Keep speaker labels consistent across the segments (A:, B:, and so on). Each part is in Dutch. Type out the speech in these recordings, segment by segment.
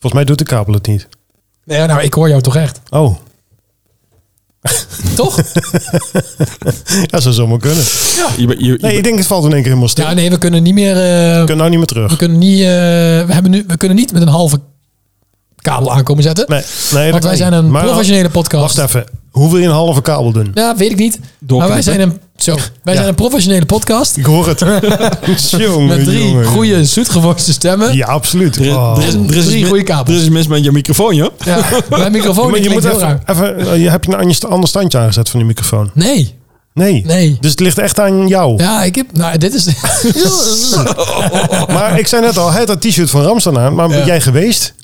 A: Volgens mij doet de kabel het niet.
B: Ja, nou, ik hoor jou toch echt.
A: Oh,
B: Toch?
A: dat zou zomaar kunnen.
C: Je, bent- je, je
A: Nee, ik
C: bent-
A: denk het valt in één keer helemaal stil.
B: ja, nee, we kunnen niet meer... eh,
A: We kunnen nou niet meer terug.
B: we, kunnen niet, eh, we, hebben nu, we kunnen niet met een halve kabel aankomen zetten.
A: Nee, nee dat
B: want wij
A: kan
B: zijn
A: niet.
B: een
A: Maar- eh,
B: professionele podcast.
A: Wacht even. Hoe wil je een halve kabel doen?
B: Ja, weet ik niet. Maar wij
C: Doorknippen.
B: zijn een, zo, wij zijn een professionele podcast.
A: Ik hoor het. jongen,
B: Met drie
A: jongen.
B: goede, zoetgevoiste stemmen.
A: Ja, absoluut.
C: er,
A: Oh.
C: er is, er is,
B: Drie
C: iets mis-
B: goede kabels.
C: Er is iets mis met je microfoon, joh.
B: Ja, mijn microfoon
A: Maar
B: die
A: je
B: klinkt
A: moet
B: heel raar.
A: even, even, eh, je heb je een ander- ander standje aangezet van die microfoon?
B: Nee.
A: Nee.
B: Nee.
A: Dus het ligt echt aan jou.
B: Ja, ik heb... Nou, dit is...
A: Maar ik zei net al, hij had dat t-shirt van Ramstan aan, maar
B: Ja.
A: ben jij geweest?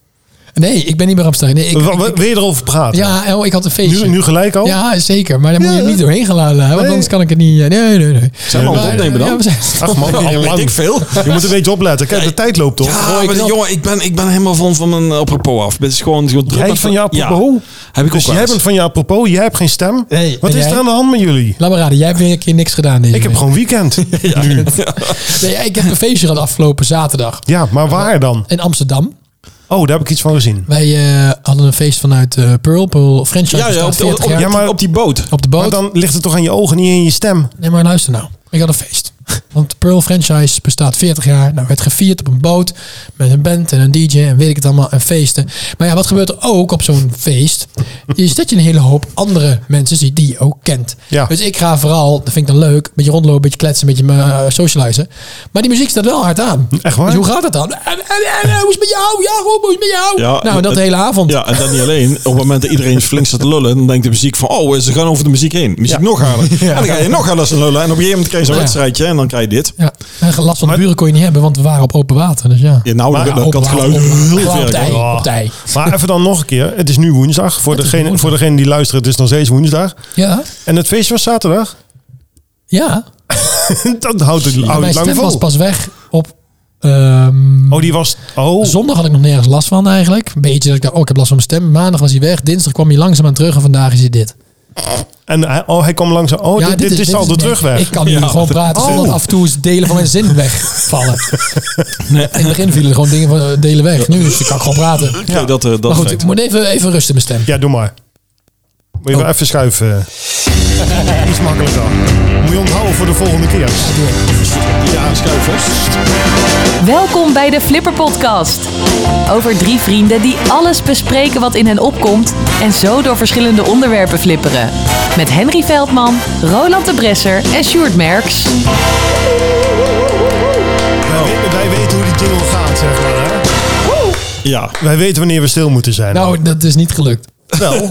B: nee, ik ben niet meer op Nee, ik,
A: Wa-
B: ik-
A: wa-
B: ik-
A: wil je erover praten?
B: ja, oh, ik had een feestje.
A: Nu, nu gelijk al?
B: Ja, zeker. Maar daar moet je
A: Ja.
B: niet doorheen gaan laden. hè, Want
A: Nee.
B: anders kan ik het niet... eh, Nee, nee, nee.
C: Zijn we aan het
B: Maar,
C: opnemen dan?
B: ja, we zijn-
A: Ach man,
C: Ja, weet ik veel.
A: je moet een beetje opletten. Kijk, de tijd loopt toch?
C: Ja,
B: ik
C: maar
B: wel.
C: jongen, ik ben, ik ben helemaal van, van een apropos af. Het is gewoon, gewoon druk
A: Jij
C: met-
A: van je apropos?
C: Heb ik
A: Dus
C: ook wel
A: jij
C: eens.
A: bent van je apropos, jij hebt geen stem.
B: Nee,
A: Wat
B: en
A: is
B: jij?
A: er aan de hand met jullie?
B: Laat maar raden. Jij hebt weer een keer niks gedaan deze
A: Ik heb
B: week.
A: gewoon weekend. Nu.
B: Nee, ik heb een feestje gehad afgelopen zaterdag.
A: Ja, maar waar dan?
B: In Amsterdam.
A: Oh, daar heb ik iets van gezien.
B: Wij eh, hadden een feest vanuit eh Pearl. Pearl Franchise
C: Ja, dus ja,
B: bestaat
C: op, de-
B: 40
C: op-
B: jaar.
A: ja, maar-
C: op die boot.
B: op de boot.
A: Maar dan ligt het toch aan je ogen, niet in je stem?
B: Nee, maar luister nou. Ik had een feest. Want de Pearl franchise bestaat 40 jaar. Nou, werd gevierd op een boot. Met een band en een DJ en weet ik het allemaal. En feesten. Maar ja, wat gebeurt er ook op zo'n feest? Is dat je een hele hoop andere mensen ziet die je ook kent.
A: Ja.
B: Dus ik ga vooral, dat vind ik dan leuk, een beetje rondlopen, een beetje kletsen, een beetje eh, socializen. Maar die muziek staat wel hard aan.
A: Echt waar?
B: Dus hoe gaat het dan? En, en, en, en, hoe is het met jou? Ja, Rob, hoe is het met jou?
C: Ja,
B: nou,
C: en-
B: dat de hele avond.
C: Ja, en dan niet alleen. Op het moment dat iedereen flink zit te lullen, dan denkt de muziek van, oh, ze gaan over de muziek heen. Muziek nog harder. En dan ga je nog harder zitten lullen. En op een gegeven moment krijg je zo'n
B: Ja.
C: wedstrijdje en dan krijg je dit.
B: Ja, en last van de buren kon je niet hebben, want we waren op open water. Dus ja.
C: Ja, nou,
A: Maar
C: dan
B: ja,
C: dan kan het
B: openbaar
C: geluid
B: openbaar.
C: heel
B: Gewoon op
C: ver
B: de ei,
C: gaan.
A: Oh.
B: op de ei.
A: Maar even dan nog een keer. Het is nu woensdag. Voor, degene, voor degene die luistert, het is nog steeds woensdag.
B: Ja,
A: En het feestje was zaterdag.
B: ja.
A: Dat houdt het,
B: Maar
A: houdt het lang
B: mijn stem was
A: vol.
B: pas weg op... ehm,
A: Oh, die was... Oh,
B: Zondag had ik nog nergens last van eigenlijk. Een beetje dat ik dacht, oh, ik heb last van mijn stem. Maandag was hij weg. Dinsdag kwam hij langzaamaan terug. En vandaag is hij dit.
A: en hij, oh, hij kwam langzaam. Oh, dit, dit, is al de
B: nee,
A: terugweg.
B: Ik kan nu gewoon praten.
A: Oh.
B: want af en toe is delen van mijn zin wegvallen. In het begin vielen er gewoon dingen van eh, delen weg. Nu is, ik kan gewoon praten.
C: Kijk, dat, eh, dat
B: maar goed,
C: effect.
B: ik moet even, even rusten mijn stem.
A: Ja, doe maar. Moet je wel even schuiven. Iets makkelijker. Moet je onthouden voor de volgende keer.
C: Ja, schuiven.
D: Welkom bij de Flipper Podcast. Over drie vrienden die alles bespreken wat in hen opkomt en zo door verschillende onderwerpen flipperen. Met Henry Veldman, Roland de Bresser en Sjoerd Merks.
B: Oh.
A: Wij, we- wij weten hoe die jingle gaat, zeg maar. Hè?
C: Ja.
A: Wij weten wanneer we stil moeten zijn.
B: Nou, dat is niet gelukt.
A: wel.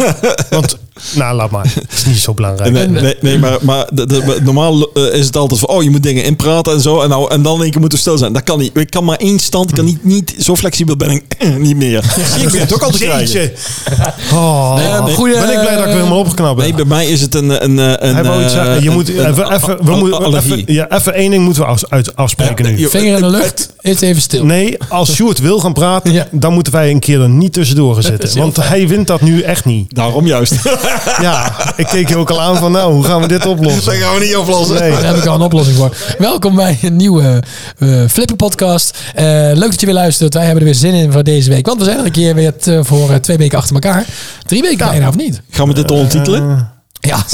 A: Want, nou, laat maar. Het is niet zo belangrijk.
C: Nee, nee, nee, maar, maar de, de- normaal eh, is het altijd van, oh, je moet dingen inpraten en zo. En, nou, en dan in één keer moeten we stil zijn. Dat kan niet. Ik kan maar één stand, kan niet, niet zo flexibel ben ik eh, niet meer. Zie, ik ben het ook al te krijgen.
A: Jeetje. Oh,
B: maar
A: goeie,
B: goeie-
A: ben ik blij dat ik weer helemaal opgeknapt ben.
C: Nee, bij mij is het een... een, een
A: Hij wou iets
C: eh,
A: zeggen. Je
C: een-
A: moet
C: een
A: even, even, we
C: a-
A: moeten,
C: allergie.
A: even, ja, even één ding moeten we af- uit, afspreken
C: Ja,
A: nu.
C: joh.
B: Vinger in de lucht. Eerst even stil.
A: Nee, als Sjoerd wil gaan praten,
B: Ja.
A: dan moeten wij een keer er niet tussendoor gaan
B: Dat is
A: zitten.
B: heel
A: Want
B: fijn.
A: hij wint dat nu echt niet.
C: Daarom juist.
A: Ja, ik keek je ook al aan van nou, hoe gaan we dit
C: Dat
A: oplossen?
C: gaan we niet oplossen.
A: Nee.
B: Daar heb ik al een oplossing voor. Welkom bij een nieuwe eh Flipper podcast. Eh, leuk dat je weer luistert. Wij hebben er weer zin in voor deze week. Want we zijn er een keer weer eh, voor eh, twee weken achter elkaar. Drie weken
A: Nou.
B: bijna, of niet?
C: Gaan we dit al onttitelen?
B: Ja.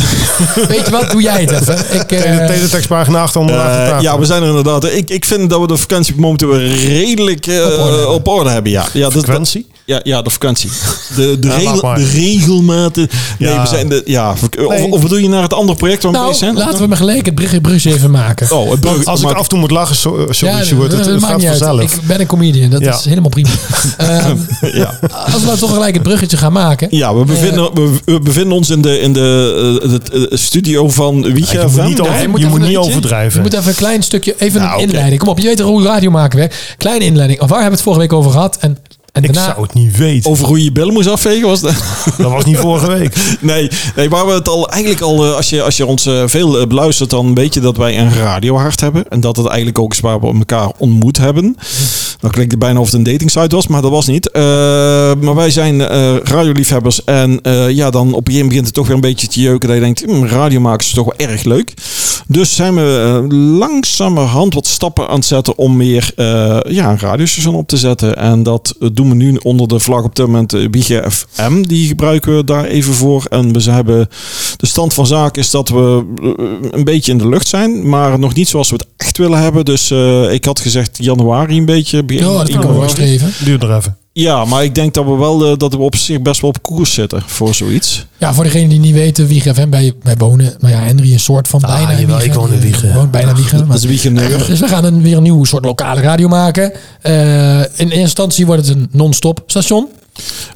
B: Weet je wat? Doe jij het even. Ik, eh,
A: Tele- Teletextpagina 888.
C: Eh, ja, we zijn er inderdaad. Ik, ik vind dat we de vakantie momenteel weer redelijk eh, op, orde. hebben. Ja, ja, dat-
A: Frequentie?
C: ja, ja de vakantie. De, de,
A: Ja,
C: regel-
A: laat maar.
C: de regelmaten. Nee,
A: Ja.
C: we zijn de, ja, of,
A: Nee.
C: of doe je naar het andere project waar we
B: nou,
C: bezig zijn?
B: laten we maar gelijk het brugje brugje even maken.
C: Oh, het brug-
A: Als ik
C: maar-
A: af en toe moet lachen, so- sorry
B: dat-
A: Sjoerd, het,
B: dat
A: het
B: maakt
A: gaat
B: niet uit.
A: vanzelf.
B: Ik ben een comedian, dat
A: Ja.
B: is helemaal prima. Ehm,
C: ja.
B: als we nou toch gelijk het bruggetje gaan maken.
C: ja, we bevinden, we, we bevinden ons in de, in de, eh, het, eh, studio van Wietje
A: je moet
C: FM.
A: niet over-
C: Ja,
A: je
B: je
A: moet,
B: moet even
A: niet
B: een-
A: overdrijven.
B: Je moet even een klein stukje, even
C: Nou,
B: een
C: oké.
B: inleiding. Kom op, je weet toch hoe radio maken werkt. Kleine inleiding. Of waar hebben we het vorige week over gehad? En, en
A: ik
B: daarna,
A: zou het niet weten.
C: Over hoe je je billen moest afvegen was dat?
A: Oh, Dat was niet vorige week.
C: Nee, nee, waar we het al eigenlijk al, eh, als je, als je ons eh, veel eh, beluistert, dan weet je dat wij een radiohart hebben. En dat het eigenlijk ook is waar we elkaar ontmoet hebben. Dan klinkt het bijna of het een datingsite was, maar dat was niet. Eh, maar wij zijn eh, radioliefhebbers. En eh, ja, dan op een gegeven moment begint het toch weer een beetje te jeuken. Dat je denkt, hmm, radio maken is toch wel erg leuk. Dus zijn we eh, langzamerhand wat stappen aan het zetten om meer eh, ja, een radiostation op te zetten. En dat eh, doen doen we nu onder de vlag op dit moment eh, Biegen FM. Die gebruiken we daar even voor. En we ze hebben de stand van zaken is dat we eh, een beetje in de lucht zijn, maar nog niet zoals we het echt willen hebben. Dus eh, ik had gezegd januari een beetje. begin
B: Ja, dat kan
C: januari.
B: wel streven.
A: Duurt er even.
C: Ja, maar ik denk dat we wel eh, dat we op zich best wel op koers zitten voor zoiets.
B: Ja, voor degenen die niet weten, Wiegen FM, wij, wij wonen, nou ja, Henry een soort van
E: Ah,
B: bijna
E: jawel, ik woon
B: Je
E: in Wijchen.
B: woont bijna Wiegen.
C: Dat is Wiegeneur.
B: Dus we gaan een, weer een nieuw soort lokale radio maken. Eh, in eerste instantie wordt het een non-stop station.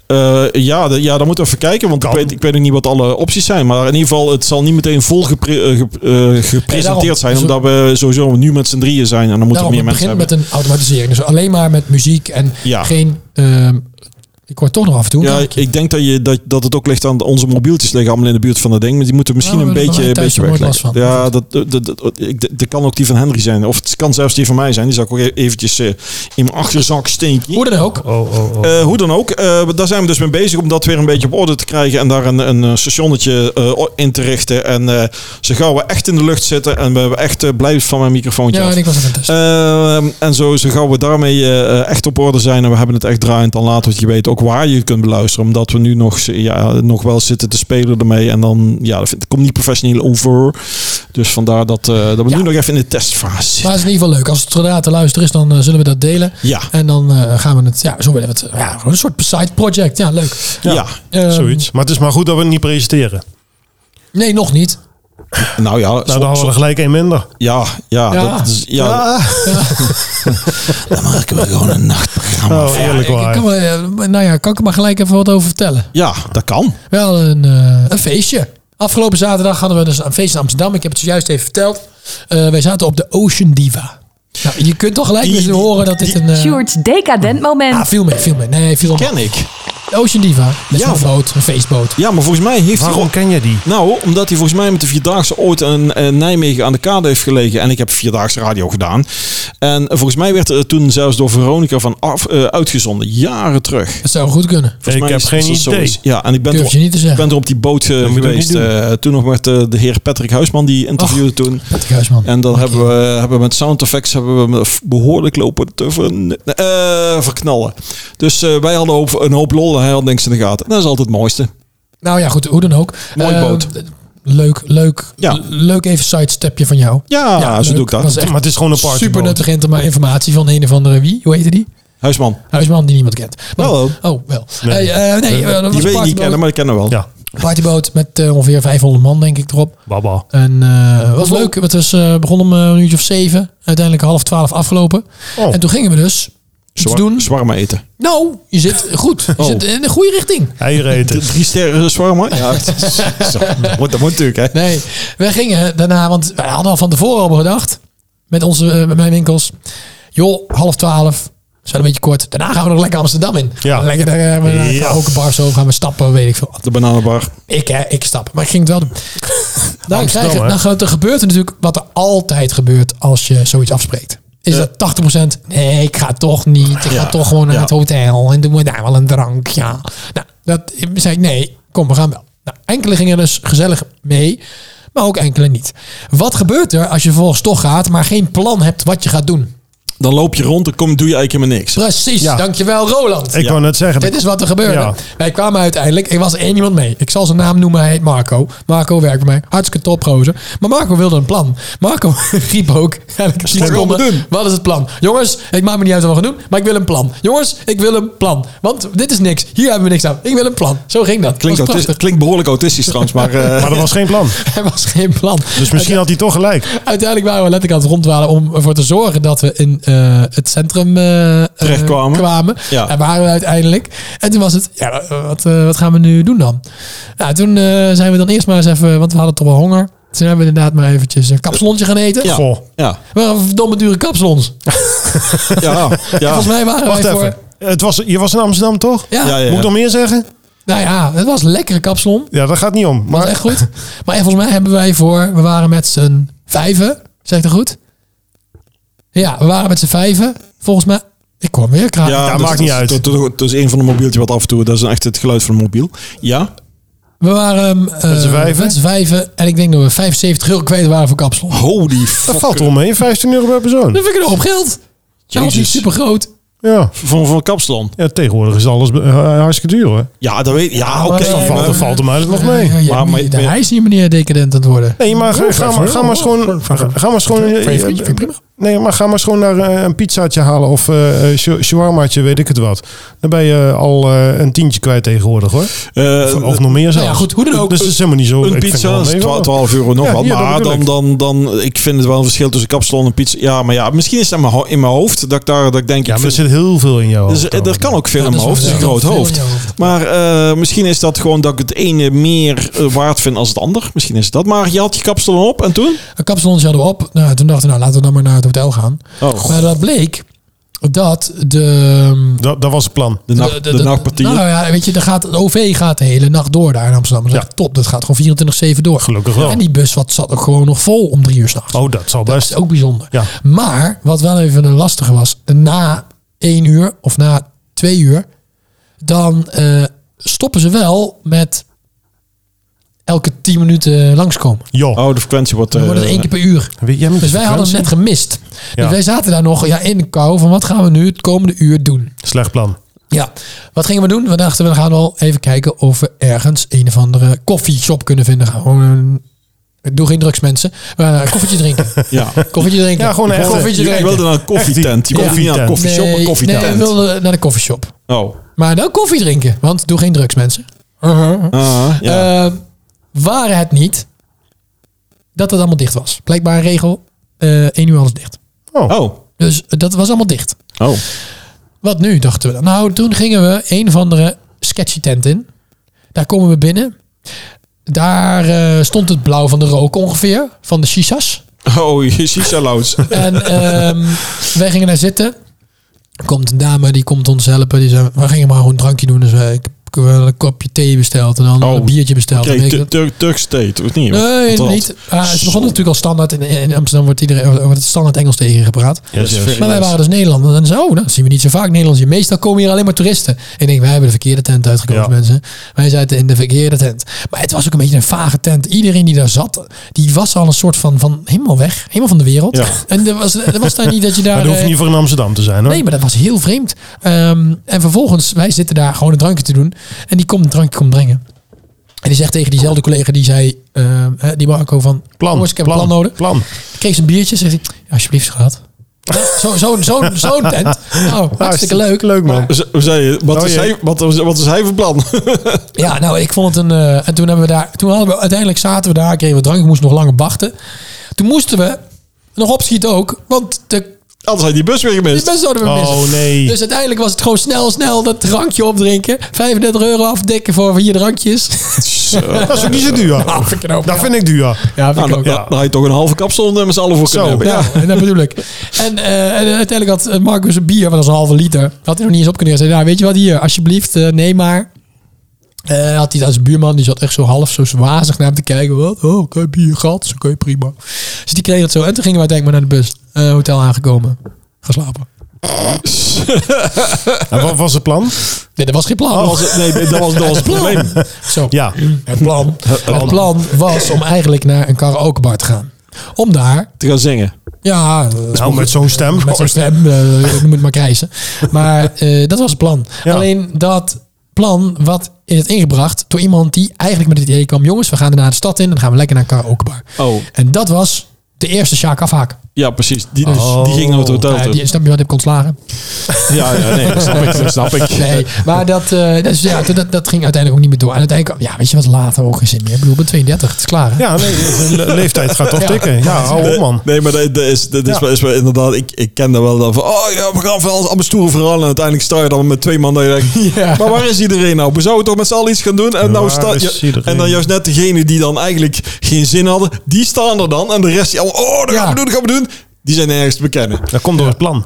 C: Eh, ja, de- ja, dan moeten we even kijken, want ik weet, ik weet nog niet wat alle opties zijn. Maar in ieder geval, het zal niet meteen vol gepre- eh, ge- eh,
B: Nee,
C: gepresenteerd
B: daarom.
C: zijn,
B: Dus we-
C: omdat we sowieso nu met z'n drieën zijn en dan moeten we
B: Daarom,
C: meer
B: het
C: mensen
B: begint
C: hebben.
B: met een automatisering. Dus alleen maar met muziek en
C: Ja.
B: geen... ehm, ik hoor toch nog af en toe.
C: Ja, ik denk dat, je, dat, dat het ook ligt aan onze mobieltjes liggen allemaal in de buurt van dat ding. Maar die moeten we misschien
B: Nou,
C: een
B: we hebben
C: beetje,
B: er
C: een
B: thuis
C: beetje
B: nog nooit
C: wegleggen.
B: last van.
C: Ja, dat, dat, dat, dat- ik- dat- dat kan ook die van Henry zijn. Of het kan zelfs die van mij zijn. Die zal ik ook e- eventjes eh, in mijn achterzak steken.
B: Hoe dan ook.
A: Oh, oh, oh.
C: Eh, hoe dan ook, eh, daar zijn we dus mee bezig om dat weer een beetje op orde te krijgen en daar een, een eh, stationnetje eh, o- in te richten. En eh, zo gauw we echt in de lucht zitten en we hebben echt eh, blij van mijn microfoontje
B: Ja,
C: af.
B: en ik was even een test.
C: Ehm, en zo, zo gauw we daarmee eh, echt op orde zijn en we hebben het echt draaiend, dan laten we het je weten ook waar je het kunt beluisteren. Omdat we nu nog, z- ja, nog wel zitten te spelen ermee en dan, ja, dat vind- het komt niet professioneel over. Dus vandaar dat, eh, dat we
B: Ja.
C: nu nog even in de testfase zitten.
B: Maar het is in ieder geval leuk. Als het zodra te luisteren is, dan eh, zullen we dat delen.
C: Ja.
B: En dan eh, gaan we het, ja, zo willen we het, eh, ja, gewoon een soort side project. Ja, leuk.
C: Ja.
B: Ehm,
A: Zoiets. Maar het is maar goed dat we het niet presenteren.
B: Nee, nog niet.
C: nou ja,
A: Nou,
C: zo-
A: dan hadden we
C: zo-
A: er gelijk één minder.
C: ja, ja,
B: Ja.
C: Dat is, ja, Dan maken we gewoon een nachtprogramma.
A: Oh, eerlijk
B: Ik
A: waar.
B: kan, wel, eh, nou ja, kan ik er maar gelijk even wat over vertellen.
C: Ja, dat kan.
B: Wel een, eh, een feestje. Afgelopen zaterdag hadden we dus een feest in Amsterdam. Ik heb het zojuist even verteld. Eh, wij zaten op de Ocean Diva. Nou, je kunt toch gelijk
C: Die-
B: eens horen dat dit een... eh,
D: Sjoerd's decadent moment.
B: ah, viel mee, viel mee. Nee, viel mee.
C: Ken ik.
B: De Ocean Diva. Dat is
C: Ja,
B: een boot, een feestboot.
C: Ja, maar volgens mij heeft hij...
A: Waarom ken je die?
C: Nou, omdat hij volgens mij met de Vierdaagse ooit in, eh, Nijmegen aan de kade heeft gelegen. En ik heb Vierdaagse radio gedaan. En volgens mij werd er toen zelfs door Veronica van af, eh, uitgezonden. Jaren terug.
B: Dat zou goed kunnen.
C: Volgens
A: Ik
C: mij
A: heb
C: is-
A: geen
C: is dat
A: idee.
C: zoiets. Ja, en ik ben,
B: Durf
C: er-
B: je niet te
C: ik
B: zeggen.
C: ben er op die boot eh,
A: moet je ook
C: geweest.
A: niet doen. Oh.
C: eh, toen nog met eh, de heer Patrick Huisman die interviewde toen.
B: Patrick Huisman.
C: En dan hebben we, hebben we met sound effects hebben we hem behoorlijk lopen te ver- eh, verknallen. Dus eh, wij hadden hoop, een hoop lol en hij had niks in de gaten. Dat is altijd het mooiste.
B: Nou ja, goed, hoe dan ook.
C: Mooi
B: Eh,
C: boot.
B: Leuk, leuk,
C: Ja.
B: leuk even sidestepje van jou.
C: Ja,
B: Ja,
C: zo
B: leuk.
C: doe ik dat.
B: Was echt
A: Maar het is gewoon een party.
B: Super nuttige informa- informatie van een of andere wie? Hoe heette die?
C: Huisman.
B: Huisman die niemand kent. Maar-
C: Hallo.
B: Oh, wel.
A: Nee.
B: Nee, nee eh, dat was
C: Die
B: een
C: weet ik niet
B: partyboot.
C: kennen, maar ik ken hem wel.
A: Ja,
B: partyboot met eh, ongeveer 500 man, denk ik, erop.
A: baba.
B: En eh, het was leuk. Het was, eh, begon om eh, een uurtje of zeven. Uiteindelijk half twaalf afgelopen.
A: Oh.
B: En toen gingen we dus iets
C: Zwar-
B: doen.
C: Zwarma eten.
B: Nou, je zit goed. Je
C: Oh.
B: zit in de goede richting.
A: Eieren eten.
C: Drie sterren zwarma? Ja, het is- zo. dat moet, dat moet natuurlijk, hè.
B: Nee, wij gingen daarna, want wij hadden al van tevoren al bedacht. Met onze, eh, met mijn winkels. Joh, half twaalf. Zijn een beetje kort. Daarna gaan we nog lekker Amsterdam in.
A: Ja.
B: Lekker daar, eh, we gaan
A: Ja.
B: ook een bar zo gaan we stappen, weet ik veel.
C: De bananenbar.
B: Ik, hè, ik stap. Maar ik ging het wel doen. Dan, krijg je,
A: hè?
B: dan ge- Nou, er gebeurt er natuurlijk wat er altijd gebeurt als je zoiets afspreekt. Is dat 80%? Nee, ik ga toch niet. Ik ga toch gewoon naar
C: Ja.
B: het hotel en doen we daar wel een drank. Ja. Nou, dat zei ik nee. Kom, we gaan wel. Nou, enkele gingen dus gezellig mee, maar ook enkele niet. Wat gebeurt er als je vervolgens toch gaat, maar geen plan hebt wat je gaat doen?
C: Dan loop je rond, dan kom, doe je eigenlijk helemaal niks.
B: Precies.
A: Ja.
B: Dankjewel, Roland.
A: Ik wou net zeggen.
B: Dit is wat er gebeurde.
A: Ja.
B: Wij kwamen uiteindelijk. Er was één iemand mee. Ik zal zijn naam noemen. Hij heet Marco. Marco werkt bij mij. Hartstikke top, gozer. Maar Marco wilde een plan. Marco riep ook. Eigenlijk tien
C: Wat gaan we
B: seconden,
C: doen?
B: Wat is het plan? Jongens, het maakt me niet uit wat we gaan doen. Maar ik wil een plan. Jongens, ik wil een plan. Want dit is niks. Hier hebben we niks aan. Ik wil een plan. Zo ging dat.
C: Klinkt,
B: was
C: autis-
B: prachtig.
C: klinkt behoorlijk autistisch trouwens, maar... eh,
A: Maar dat was geen plan.
B: Er was geen plan.
A: Dus misschien had hij toch gelijk.
B: Uiteindelijk waren we letterlijk aan het rondwalen om ervoor te zorgen dat we in eh, het centrum eh, eh,
C: Terechtkwamen. Ja.
B: En waren we uiteindelijk. En toen was het, ja, wat, eh, wat gaan we nu doen dan? Nou, toen eh, zijn we dan eerst maar eens even, want we hadden toch wel honger. Toen hebben we inderdaad maar eventjes een kapsalonje gaan eten.
C: ja.
A: Goh.
C: Ja.
B: We hadden verdomme dure kapsalons.
C: Ja. Ja.
B: Volgens mij waren
A: Wacht
B: wij voor...
A: even. Het was, je was in Amsterdam toch?
B: Ja,
C: Ja, ja.
A: Moet ik dan meer zeggen?
B: nou ja, het was een lekkere kapsalon.
A: Ja, dat gaat niet om.
B: Maar
A: Maar
B: echt goed. Maar volgens mij hebben wij voor... We waren met z'n vijven. Zeg ik dat goed? Ja, we waren met z'n vijven. Volgens mij... Ik kom weer kraken.
A: Ja,
C: dat-
A: maakt
C: dus dat-
A: niet uit.
C: Dat, dat- dat is een van de mobieltjes wat af en toe... Dat is echt het geluid van een mobiel. Ja.
B: We waren eh,
A: Met z'n vijven?
B: met z'n vijven. En ik denk dat we 75 euro kwijt waren voor kapsalon.
C: Holy
A: dat
C: fuck.
A: valt er omheen. 15 euro per persoon.
B: Dat vind ik een hoop geld. Dat was niet
C: Jezus.
B: super groot.
A: Ja.
C: Van, van Kapslan.
A: ja, tegenwoordig is alles eh, hartstikke duur hoor.
C: Ja, dat weet Ja, Ah, oké.
A: dat
B: eh,
C: maar-
A: valt, dat valt hem eigenlijk nog mee.
B: Ja, ja,
C: Maar-
B: niet-
C: maar- maar-
B: hij is niet meneer decadent aan het worden.
A: Nee, maar ga,
B: Oh,
A: ga,
B: graag,
A: maar,
B: hoor.
A: ga maar schoon.
B: Graag, graag.
A: Ga maar schoon.
B: Voor je vriendje, vind ik prima.
A: Nee, maar ga maar schoon naar eh, een pizzaatje halen of eh eh, sh- shawarmaatje, weet ik het wat. Dan ben je al eh, een tientje kwijt tegenwoordig hoor.
C: eh,
A: Of, of nog meer zelfs.
B: nou ja, goed, hoe dan ook.
A: Dus het is helemaal niet zo.
C: Een
A: ik vind
C: pizza
A: het
C: is
A: wel meevallen.
C: 12, euro nog
A: Ja,
C: wat.
A: ja, dat
C: maar
A: bedoel
C: dan,
A: ik.
C: dan, dan, ik vind het wel een verschil tussen kapsalon en pizza. Ja, maar ja, misschien is dat in mijn ho- in mijn hoofd dat ik daar dat ik denk.
A: Ja,
C: ik
A: maar er
C: vind-
A: zit heel veel in jou.
C: dus, eh, er kan ook veel
B: Ja,
C: in mijn
B: dat
C: hoofd.
B: is
C: Het is
B: waar.
C: een groot
B: Ja, veel in
C: hoofd.
B: je hoofd.
C: Maar eh, misschien is dat gewoon dat ik het ene meer eh, waard vind als het ander. Misschien is het dat. Maar je had je kapsalon op en toen?
B: Een kapsalon hadden we op. Nou, toen dachten we, nou, laten we dan maar naar het hotel gaan.
C: Oh,
B: Maar dat bleek dat de... ehm,
A: Dat, dat was het plan.
C: de, nacht, de, nachtpartier.
B: Nou ja, weet je, dan gaat, de OV gaat de hele nacht door daar in Amsterdam. Dat is
A: Ja.
B: echt top. Dat gaat gewoon 24-7 door.
A: Gelukkig wel.
B: En die bus wat, zat ook gewoon nog vol om drie uur s'nachts.
A: Oh, dat zal
B: Dat
A: best.
B: is ook bijzonder.
A: Ja.
B: Maar wat wel even een lastige was, na één uur of na twee uur, dan eh, stoppen ze wel met elke tien minuten langskomen.
A: Joh.
C: Oh, de frequentie wordt.
B: Dan wordt het
C: eh,
B: één keer per uur.
A: Weet jij met
B: Dus
A: die
B: wij hadden het net
A: frequentie?
B: gemist. Dus
A: Ja.
B: wij zaten daar nog ja, in de kou van wat gaan we nu het komende uur doen.
A: Slecht plan.
B: Ja, wat gingen we doen? We dachten, we gaan wel even kijken of we ergens een of andere koffieshop kunnen vinden. Gewoon een... Doe geen drugs, mensen. We gaan een koffietje drinken.
C: Ja.
B: Koffietje drinken.
A: Ja, gewoon een echte-
B: koffietje
C: Je
B: drinken.
C: wilde naar een koffietent. Je
A: Ja.
C: wilde niet naar een koffieshop, een koffietent.
B: Nee, we wilden naar de koffieshop.
C: Oh.
B: Maar dan koffie drinken. Want doe geen drugs, mensen.
C: Ah, ja.
B: Eh, waren het niet dat het allemaal dicht was. Blijkbaar een regel. eh 1 uur alles dicht.
C: oh.
B: Dus dat was allemaal dicht.
C: Oh.
B: Wat nu, dachten we dan. Nou, toen gingen we een van de sketchy tent in. Daar komen we binnen. Daar eh, stond het blauw van de rook ongeveer. Van de shishas.
C: Oh, je shisha lounge.
B: En ehm, wij gingen daar zitten. Er komt een dame, die komt ons helpen. Die zei, we gingen maar gewoon een drankje doen. Dus wij, ik heb wel een kopje thee besteld en dan
C: Oh,
B: een biertje besteld. en
C: Kijk,
B: weet ik
C: Tu-
B: het.
C: Turk, Turk State, of
B: Nee,
C: niet? Wat
B: helemaal
C: dat?
B: niet. Ah, ze begonnen natuurlijk al standaard. In, in Amsterdam wordt, iedereen, wordt het standaard Engels tegengepraat.
C: Yes,
A: yes.
C: very
B: Maar wij
C: nice.
B: waren dus Nederlanders. En zo, oh, nou, dat zien we niet zo vaak Nederlanders. hier. Meestal komen hier alleen maar toeristen. En ik denk, wij hebben de verkeerde tent uitgekozen,
A: Ja.
B: mensen. Wij zaten in de verkeerde tent. Maar het was ook een beetje een vage tent. Iedereen die daar zat, die was al een soort van, van helemaal weg. Helemaal van de wereld.
A: Ja.
B: En er was, er was daar niet dat je daar...
A: Maar dat hoeft
B: eh,
A: niet voor in Amsterdam te zijn hoor.
B: Nee, maar dat was heel vreemd. Ehm, en vervolgens, wij zitten daar gewoon een drankje te doen. En die komt een drankje komt brengen. En die zegt tegen diezelfde collega die zei, ehm, hè, die Marco van...
A: plan,
B: "Jongens, ik heb een plan nodig.
A: Plan.
B: Kreeg ze een biertje, zegt hij, "Ja, alsjeblieft schat. Nou, Zo'n zo, zo, zo'n tent. Nou, hartstikke leuk.
A: Leuk man.
C: Z- hoe zei je? Wat,
A: Oh,
C: is
A: jee.
C: hij, wat, was- wat is hij voor plan?
B: Ja, nou, ik vond het een... eh, en toen hebben we daar... Toen hadden we... Uiteindelijk zaten we daar, kregen we drank. Ik moest nog langer wachten. Toen moesten we nog opschieten ook. Want de
C: Anders had je die bus weer
B: Die
C: gemist.
B: mensen hadden we
A: Oh,
B: mis.
A: nee.
B: Dus uiteindelijk was het gewoon snel, snel dat drankje opdrinken. 35 euro afdekken voor vier drankjes.
C: Zo. Nou,
A: Dat is ook niet zo duur.
B: Nou, vind ik een hoop.
A: Dat vind ik duur.
B: Ja, vind
C: dan,
B: ik ook.
C: dan- dan had je toch een halve kapsel met z'n allen voor kunnen
A: Zo.
C: hebben.
B: Nou, Ja,
C: Ja.
B: en dat bedoel ik. En, eh, en uiteindelijk had eh, Marcus een bier, maar dat was een halve liter. Dat had hij nog niet eens op kunnen zeggen. Nou, weet je wat, hier, alsjeblieft, eh, neem maar. Eh, had hij als buurman, die zat echt zo half zo wazig naar hem te kijken. Wat? Oh, oké, bier gehad. Zo, oké, prima. Dus die kreeg het zo. En toen gingen we uiteindelijk maar naar de bus. Eh, hotel aangekomen. Gaan slapen.
A: En wat was het plan? Oh,
B: Nee, dat was geen plan.
C: Dat was het- nee, dat was, dat was het probleem.
B: Zo.
A: Ja.
B: Het plan, het plan was om eigenlijk naar een karaokebar te gaan. Om daar,
C: Te gaan zingen.
B: ja, eh,
A: Nou, met zo'n stem.
B: met zo'n stem, eh, noem het maar krijsen. Maar eh, dat was het plan.
A: Ja.
B: Alleen dat plan wat is ingebracht door iemand die eigenlijk met het idee kwam... jongens, we gaan daarna de stad in en dan gaan we lekker naar een karaokebar.
C: Oh,
B: En dat was de eerste Sjaak Afhaak.
C: ja, precies. Die, die-
A: Oh.
C: die ging naar het hotel
B: Eh,
C: toe.
B: die, snap je wat ik heb ontslagen?
C: Ja, ja, nee, dat snap ik. Dat snap ik.
B: Nee, maar dat, eh, dus, ja, dat, dat- dat ging uiteindelijk ook niet meer door. En uiteindelijk, ja, weet je wat, later ook geen zin meer. Ik bedoel, ik ben 32, het is klaar. hè?
A: Ja, nee, de le- leeftijd gaat toch
B: Ja.
A: tikken. Ja, hou op man.
C: Nee, maar dat, dat is, dat is,
A: Ja.
C: wel, is wel inderdaad... Ik, ik ken dat wel dan van... Oh ja, we gaan van alles allemaal stoer verhalen. En uiteindelijk sta je dan met twee man dat je denkt...
B: Ja.
C: Maar waar is iedereen nou? We zouden toch met z'n allen iets gaan doen? En, nou
A: Waar
C: sta,
A: is
C: ja,
A: iedereen?
C: en dan juist net degene die dan eigenlijk geen zin hadden... Die staan er dan. En de rest die allemaal... Oh, dat
B: Ja.
C: gaan we doen, dat gaan we doen. Die zijn nergens te bekennen.
A: Dat komt door het plan.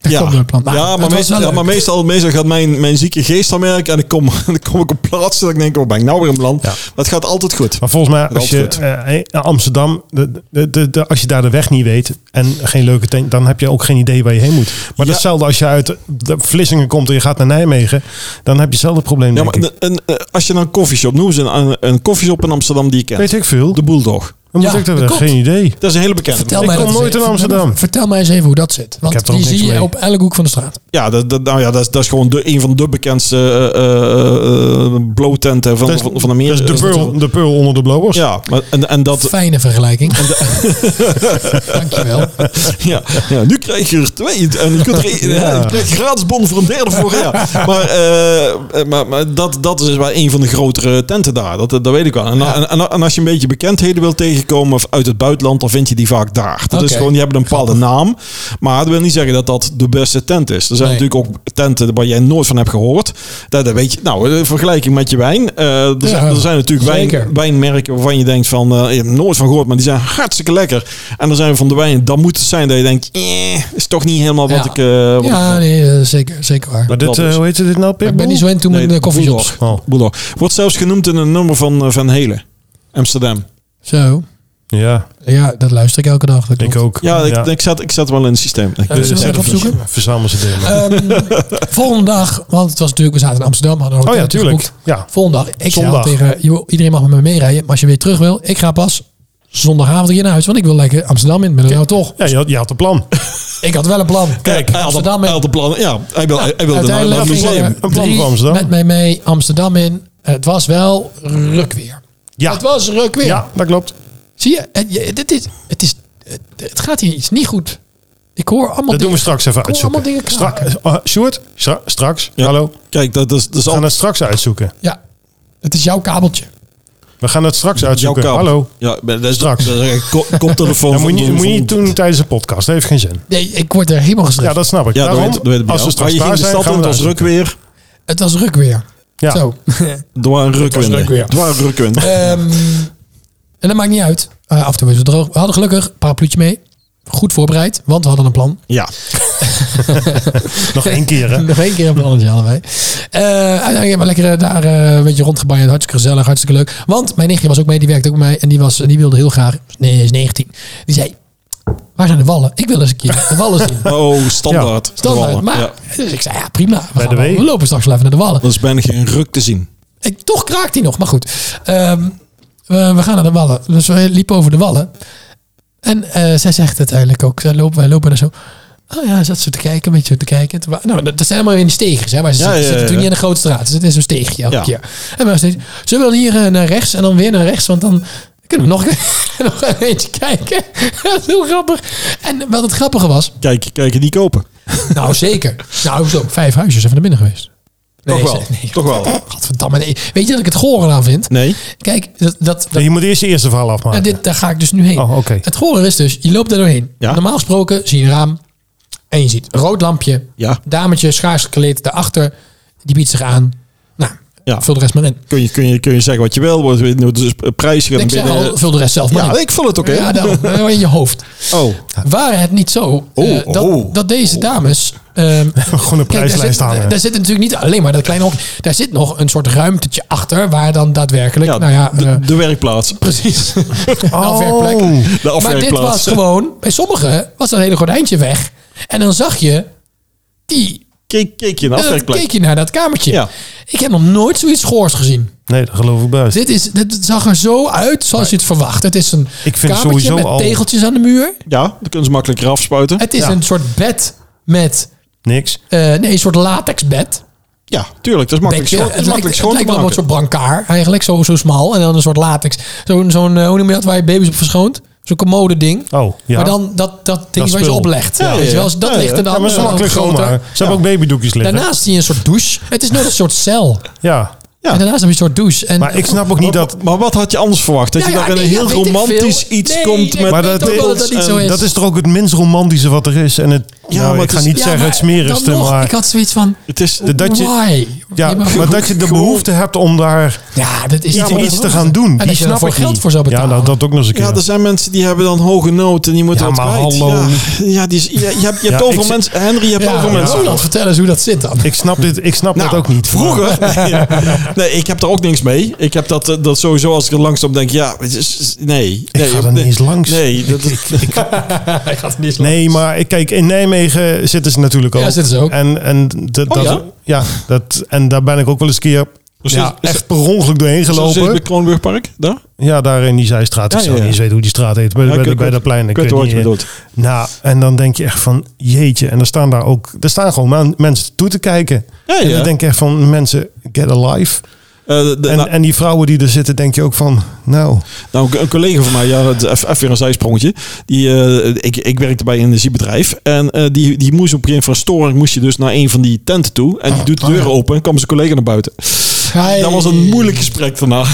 B: Dat
C: ja.
B: komt door het plan. Nou,
C: ja,
B: het
C: maar,
B: was
C: meestal,
B: wel
C: ja, maar
B: leuk.
C: meestal, meestal gaat mijn, mijn zieke geest dan merken. En dan kom, dan kom ik op plaatsen. Dat ik denk, oh, ben ik nou weer in het land?
A: Ja.
C: Maar het gaat altijd goed.
A: Maar volgens mij,
C: Dat
A: als je
C: goed.
A: eh, eh, Amsterdam, de, de, de, de- als je daar de weg niet weet en geen leuke tent, dan heb je ook geen idee waar je heen moet. Maar
C: Ja.
A: datzelfde als je uit de Vlissingen komt en je gaat naar Nijmegen, dan heb je hetzelfde probleem.
C: Ja,
A: denk
C: maar
A: ik.
C: een, een- eh, als je naar een koffieshop... Noem eens een, een, een koffieshop in Amsterdam die je kent.
A: Weet ik veel.
C: De Bulldog.
A: Hoe moet
B: Ja,
A: ik dat?
B: dat klopt.
A: Geen idee.
C: Dat is een hele bekende.
B: Vertel
A: Ik
B: mij
A: kom
B: dat eens
A: nooit in
B: even.
A: Amsterdam.
B: Vertel mij eens even hoe dat zit. Want
A: heb er ook
B: die
A: niks
B: zie je
A: mee.
B: op elke hoek van de straat.
C: Ja, dat, dat- nou ja, dat, is- dat is gewoon de, een van de bekendste eh, eh, eh, blowtenten van,
A: Dat is-
C: van, van Amerika.
A: Dat is de peul, de peul onder de blowers.
C: Ja, maar, en, en dat...
B: Fijne vergelijking. Dankjewel.
C: Ja, ja, nu krijg je er twee. En je, kunt er, één- ja. je krijgt gratis bon voor een derde voor. Ja. Maar, eh, eh, maar, maar dat, dat is wel een van de grotere tenten daar. Dat, dat weet ik wel. En, en, en, en als je een beetje bekendheden wil tegenkomen of uit het buitenland, dan vind je die vaak daar. Dat is
B: Oké.
C: gewoon, die hebben een bepaalde naam. Maar dat wil niet zeggen dat dat de beste tent is. Er zijn
B: Nee.
C: natuurlijk ook tenten waar jij nooit van hebt gehoord. Dat, dat weet je. Nou, eh, vergelijking met je wijn. eh, er, zijn, er zijn natuurlijk
B: zeker.
C: wijn, wijnmerken waarvan je denkt van, eh, je hebt er nooit van gehoord, maar die zijn hartstikke lekker. En dan zijn we van de wijn, dan moet het zijn dat je denkt, eh, is toch niet helemaal wat
B: Ja.
C: ik... eh, wat
B: Ja,
C: ik-
B: nee, eh, zeker, zeker waar.
A: Maar dit,
C: Dat is-
A: eh, hoe heet dit nou?
B: Maar ik ben
A: Pitbull?
B: niet zo in toen
C: Nee,
B: met de koffieshops.
C: Bulldog.
A: Oh,
C: Bulldog. Wordt zelfs genoemd in een nummer van eh, Van Helen. Amsterdam.
B: Zo.
A: ja,
B: Ja, dat luister ik elke dag. Dat
A: ik
B: klopt.
A: ook.
C: Ja, ik,
A: ja. Eh,
C: Ik, zat, ik zat wel in het systeem. Ik-
B: Ja, zullen we het even opzoeken?
A: Verzamel ze delen.
B: Ehm, volgende dag, want het was natuurlijk, we zaten in Amsterdam. Hadden een
A: oh ja,
B: hotel
A: tuurlijk.
B: geboekt.
A: Ja.
B: Volgende dag, ik zei al
A: Zondag.
B: tegen, joh, iedereen mag met me meerijden. Maar als je weer terug wil, ik ga pas zondagavond hier naar huis. Want ik wil lekker Amsterdam in. Ben nou toch?
A: Ja, je had, je had een plan.
B: Ik had wel een plan.
C: Kijk, hij had,
B: Amsterdam
C: hij had de plannen. Ja, hij wil hij wilde naar naar
B: Uiteindelijk
C: het museum.
B: gingen
A: Een plan
B: drie
A: voor Amsterdam.
B: met mij mee Amsterdam in. Het was wel ruk weer.
A: Ja,
B: Het was ruk weer.
A: ja dat klopt.
B: Zie je, het, je- dit is, het, is, het, het gaat hier iets niet goed. Ik hoor allemaal
A: Dat doen we
B: dingen-
A: straks even
B: ik hoor allemaal
A: uitzoeken.
B: dingen
A: Stra
B: kraken.
A: eh, Sjoerd, stra- straks.
C: Ja.
A: Hallo.
C: Kijk, dat is, dat is
A: We
C: al-
A: gaan het straks uitzoeken.
B: Ja, het is jouw kabeltje.
A: We gaan het straks
C: jouw
A: uitzoeken.
C: kap.
A: Hallo.
C: Ja, dat is
A: Straks.
C: dat is- ko- Koptelefoon.
A: Dat moet je niet,
C: van-
A: moet je niet
C: van-
A: doen tijdens een podcast. Dat heeft geen zin.
B: Nee, ik word er helemaal geschreven.
A: Ja, dat snap ik.
C: Ja, dat
A: Daarom,
C: weet, dat weet
A: als
C: ik wel.
A: we
C: Maar
A: straks
C: je ging
A: klaar
C: de
A: zijn,
C: stad
A: gaan
C: in,
A: we
C: het was
A: het
C: druk weer.
B: Het was ruk weer.
A: Ja.
B: Zo.
C: Door een rukwind.
B: ruk weer.
C: Door een rukwind.
B: Ehm, en dat maakt niet uit. Eh, af en toe is het droog. We hadden gelukkig een parapluutje mee. Goed voorbereid, want we hadden een plan.
C: Ja.
A: Nog één keer, hè?
B: Nog één keer op een andere hadden wij. Eh, uiteindelijk hebben we lekker eh, daar eh, een beetje rondgebaaierd. Hartstikke gezellig, hartstikke leuk. Want mijn nichtje was ook mee, die werkte ook mee. En die, was, die wilde heel graag, nee, is 19. Die zei, waar zijn de wallen? Ik wil eens een keer de wallen zien.
C: Oh, standaard.
B: Standaard.
C: Vallen.
B: Maar,
C: Ja.
B: dus ik zei, ja prima. We,
A: Bij
B: gaan
A: de
B: wel-
A: wee.
B: we lopen straks wel even naar de wallen.
C: Dat is bijna geen ruk te zien.
B: Ik, toch kraakt hij nog, maar goed. Ehm, we, we gaan naar de wallen. Dus we liepen over de wallen. En eh, zij zegt uiteindelijk ook, zij lopen, wij lopen daar zo. Oh ja, zat ze te kijken, een beetje zo te kijken. Toen wa- Nou, dat, dat zijn allemaal in die steegjes, hè? Maar ze
C: Ja,
B: zitten,
C: ja,
B: zitten
C: ja,
B: natuurlijk
C: ja.
B: niet in de grote straat. Ze zitten in zo'n steegje elke
C: Ja.
B: keer. En we steeds, zullen we dan hier eh, naar rechts en dan weer naar rechts? Want dan kunnen we nog, nog een eentje kijken. dat is heel grappig. En wat het grappige was,
C: Kijk, kijk, die kopen.
B: nou zeker. Nou, zo, vijf huisjes even naar binnen geweest.
C: Toch wel.
B: ze- nee,
C: Toch wel.
B: Godverdamme, nee. Weet je dat ik het goren aan vind?
C: Nee.
B: Kijk, dat, dat, dat-
A: Nee, je moet eerst je eerste verhaal
B: ja,
A: afmaken.
B: dit, daar ga ik dus nu heen.
A: Oh, oké.
B: Het gore is dus, je loopt daar doorheen.
C: Ja.
B: Normaal gesproken zie je een raam en je ziet een rood lampje.
C: Ja.
B: Dametje, schaars gekleed, daarachter. Die biedt zich aan. Nou,
C: Ja.
B: vul de rest maar in.
C: Kun je, kun je, kun je zeggen wat je wil. Wordt weer- wordt dus prijs gaat
B: Ik zeg
C: binnen.
B: al, vul de rest zelf maar
C: ja,
B: in.
C: ik vul het ook in.
B: Ja, daarom. Eh, in je hoofd.
C: Oh.
B: Waren het niet zo eh,
C: Oh,
B: dat,
C: oh.
B: dat deze dames... ehm,
A: Gewoon een
B: Kijk, daar
A: prijslijst
B: zit,
A: hangen.
B: Daar zit natuurlijk niet alleen maar dat kleine hok. Daar zit nog een soort ruimtetje achter waar dan daadwerkelijk...
C: Ja,
B: nou ja, eh,
C: de, de werkplaats.
B: precies. afwerkplek.
A: Oh,
C: De
B: Maar dit was
C: afwerkplaats.
B: gewoon, bij sommigen was dat hele gordijntje weg. En dan zag je die.
C: Keek, keek je een
B: En dan
C: afwerkplek.
B: Eh, keek je naar dat kamertje.
C: Ja.
B: Ik heb nog nooit zoiets goors gezien.
A: nee, dat geloof ik buiten.
B: Dit, is, dit zag er zo uit zoals je het verwacht. Het is een
A: Ik vind
B: kamertje
A: sowieso
B: met
A: al-
B: tegeltjes aan de muur.
C: Ja, dan kunnen ze makkelijker afspuiten.
B: Het is
A: Ja.
B: een soort bed met.
A: Niks.
B: eh, nee, een soort latexbed.
C: ja, tuurlijk. Dat is makkelijk
B: Beetje-
C: schoon, dat is
B: lijkt,
C: makkelijk schoon
B: het
C: te
B: lijkt wel een
C: maken.
B: soort brancard eigenlijk. Zo, zo smal. En dan een soort latex. Zo'n, zo'n eh, hoe noem je dat, waar je baby's op verschoont. Zo'n commode ding.
A: Oh, ja.
B: Maar dan dat, dat ding
A: Dat
B: waar je ze
A: spul.
B: oplegt.
C: Ja,
B: Weet je wel,
C: ja,
B: als dat
C: ja,
B: ligt er
C: ja.
B: dan
A: Ja, maar zo
B: eh,
A: makkelijk gewoon
B: groter.
A: maar. Ze hebben ook babydoekjes liggen.
B: Daarnaast zie je een soort douche. Het is net een soort cel.
A: Ja,
C: Ja.
B: En daarnaast heb je een soort douche. En
A: maar ik snap ook niet dat...
C: Maar, maar wat had je anders verwacht? Dat
B: Ja,
C: je
B: Nou ja,
C: daar in
B: nee,
C: een
B: ja,
C: heel
B: weet ik
C: romantisch
B: veel.
C: iets
B: Nee,
C: komt
B: ik
C: met...
A: Maar
B: weet
A: dat
B: ook wel
A: is-
B: dat niet zo is.
A: Dat is toch ook het minst romantische wat er is. En het,
C: Ja,
A: nou,
C: maar
A: ik ga
C: het is-
A: niet
B: Ja,
A: zeggen
B: maar
A: het smerigste,
B: dan nog,
A: maar...
B: Ik had zoiets van,
C: Het is...
A: dat je,
B: why?
A: ja, maar dat je de behoefte hebt om daar
B: Ja, dat is
A: iets,
B: maar dat
A: iets
B: is-
A: te gaan doen.
B: En dat
A: Die
B: je
A: snap
B: daarvoor
A: ik
B: geld
A: niet.
B: voor zou betalen.
A: Ja, nou, dat, dat ook nog eens een keer.
C: Ja, er zijn mensen die hebben dan hoge nood en die moeten
A: Ja,
C: wat
A: maar
C: kwijt.
A: hallo.
C: Ja, ja, die is, je, je hebt, je hebt
A: Ja,
C: overal
A: ik-
C: mensen... Henry, je hebt
B: Ja,
C: overal
B: ja,
C: mensen.
B: Roland, vertel eens hoe dat zit dan.
A: Ik snap, dit, ik snap dat
C: Nou,
A: ook niet.
C: Vroeger? nee, ik heb daar ook niks mee. Ik heb dat, eh, dat sowieso als ik er langs op denk. Ja, het is- is- nee. nee
A: ga er niet
C: nee,
A: eens langs.
C: Nee, dat,
B: Hij gaat niet
A: Nee, maar ik- kijk, in Nijmegen zitten ze natuurlijk al.
B: Ja, zitten ze ook.
A: En, en, dat-
C: Oh,
A: dat,
C: ja?
A: ja? dat, en daar ben ik ook wel eens een keer
C: Dus
A: ja,
C: is- is-
A: echt per ongeluk doorheen
C: Zo zit
A: gelopen.
C: het bij Kroonburgpark, daar?
A: Ja, daar in die zijstraat. Ik
C: Ja,
A: zou niet
C: ja, ja.
A: eens weten hoe die straat heet. Bij,
C: Ja, ik
A: bij,
C: weet-
A: bij dat plein. Ik,
C: weet
A: weet
C: wat
A: niet,
C: je
A: eh,
C: bedoelt.
A: Nou, en dan denk je echt van, jeetje. En er staan daar ook, er staan gewoon man- mensen toe te kijken.
C: Ja,
A: En
C: ja.
A: dan denk je echt van, mensen, get a life.
C: Eh, de- de-
A: En,
C: nou-
A: en die vrouwen die er zitten, denk je ook van, nou,
C: Nou, een collega van mij, ja, het- even even weer een zijsprongetje. Die, eh, ik, ik werkte bij een energiebedrijf. En eh, die, die moest op een gegeven moment van storing moest je dus naar een van die tenten toe. En
A: Ah,
C: die doet de deur open en kwam zijn collega naar buiten.
B: Hey.
C: Dat was een moeilijk gesprek daarna.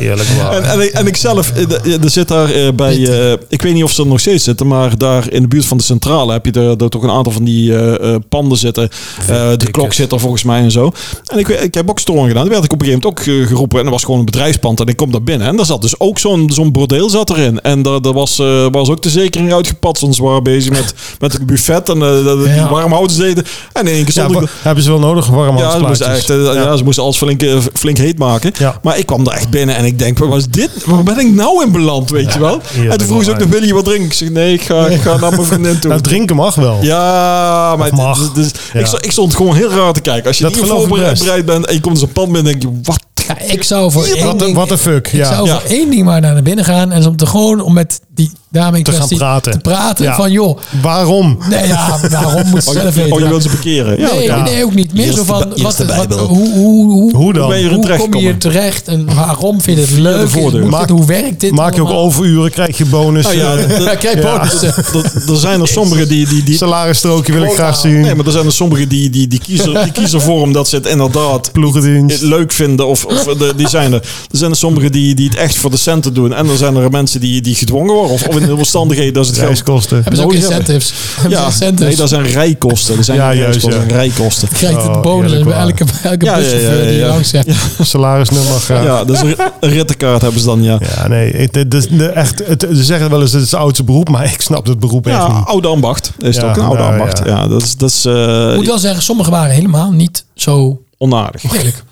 A: eerlijk waar.
C: En, en, ik, en ik zelf, eh, d- eh, er zit daar eh, bij, eh, ik weet niet of ze er nog steeds zitten, maar daar in de buurt van de centrale heb je er, er toch een aantal van die eh, eh, panden zitten. Eh, de klok zit er volgens mij en zo. En ik, weet- ik heb ook storing gedaan. Toen werd ik op een gegeven moment ook eh, geroepen en dat was gewoon een bedrijfspand. En ik kom daar binnen en daar zat dus ook zo'n zo'n bordeel zat erin. En daar, daar was, eh, was ook de zekering uitgepatst, want ze waren bezig met, met een buffet en eh, dat- die
B: Ja.
C: warmhouders deden. En in één keer
A: Ja,
C: stond ik
A: wa- hebben ze wel nodig, warm
C: ja, ze moesten,
A: handplaatjes.
C: echt, eh, ja. ze moesten alles flink, eh, flink heet maken.
A: Ja.
C: Maar ik kwam er echt binnen en ik denk, waar, was dit, waar ben ik nou in beland, weet je wel? En toen vroeg ze ook,
A: waar.
C: nog, wil je wat drinken? Ik zeg, nee, ik ga, ik ga naar mijn vriendin toe.
A: Nou, drinken mag wel.
C: Ja, maar
A: Of mag.
C: dit- dit is-
A: Ja.
C: Ik, stond, ik stond gewoon heel raar te kijken. Als je
A: Dat
C: niet
A: geloof ik
C: voorbereid bent en je komt in zo'n pand binnen, denk je, wat?
B: Ja, ik zou voor één
A: Wat de
B: ding-
A: what the fuck,
B: Ik
A: ja.
B: zou
C: Ja.
B: voor één ding maar naar binnen gaan. En is om te gewoon om met die dame in
A: Te gaan
B: kwestie
A: praten.
B: te praten.
A: Ja.
B: Van joh,
A: Waarom?
B: nee, ja, waarom moet ze
C: Oh,
B: zelf
C: je,
B: weten?
C: oh, je
B: Ja.
C: wilt ze parkeren? Ja,
B: nee,
A: ja.
B: nee, ook niet. Meer
E: Eerst
B: zo
E: de
B: van,
E: Bij-
B: wat,
E: eerst de
B: wat-
E: Bijbel.
B: hoe, hoe, hoe,
A: Hoe
C: ben je
A: dan?
C: erin
B: hoe
C: terecht
B: kom je hier
C: komen?
B: terecht? En waarom vind je het leuk?
C: voordeur.
B: Moet dit-
A: Maak-
B: hoe werkt dit
A: Maak je ook
B: allemaal?
A: overuren, krijg je bonus.
C: Nou ja,
A: eh,
C: dat-
B: Ja, kijk,
A: Ja.
B: bonussen.
C: dat- er zijn er sommigen die, die, die,
A: salarisstrookje wil ik graag zien.
C: Nee, maar er zijn er sommigen die, die, die, kiezen, die kiezen voor omdat ze het inderdaad het
A: Ploegendienst.
C: leuk vinden. Of, of de, die zijn er. Er zijn er sommigen die, die het echt voor de centen doen. En er zijn er mensen die, die gedwongen worden. Of, of in de omstandigheden dat ze het geld...
A: Reiskosten.
B: Hebben ze ook
C: Nodig hebben.
B: incentives? Hebben ze
C: Ja,
B: incentives?
C: nee, dat zijn rijkosten. Dat zijn
A: Ja,
C: niet
A: juist,
C: reiskosten,
A: ja.
C: dat zijn rijkosten.
B: Krijgt het
A: Oh,
B: bonus
A: eerlijk
B: bij
A: waar.
B: elke, bij elke
C: Ja, ja,
B: buschauffeur
C: ja,
B: die
C: ja.
B: langs zegt.
A: Salarisnummer graag.
C: Ja, dus een, een rittenkaart hebben ze dan, ja.
A: Ja, nee, ik- dit- dit- de- echt, het, ze zeggen wel eens dat het is het oudste beroep, maar ik snap het beroep
C: Ja,
A: echt niet.
C: oude ambacht. Is het
A: Ja,
C: ook een oude
A: nou,
C: ambacht.
A: ja.
C: Ja, dat is, dat is eh,
B: Ik moet wel zeggen, sommigen waren helemaal niet zo
C: onaardig. Nee,
B: lelijk.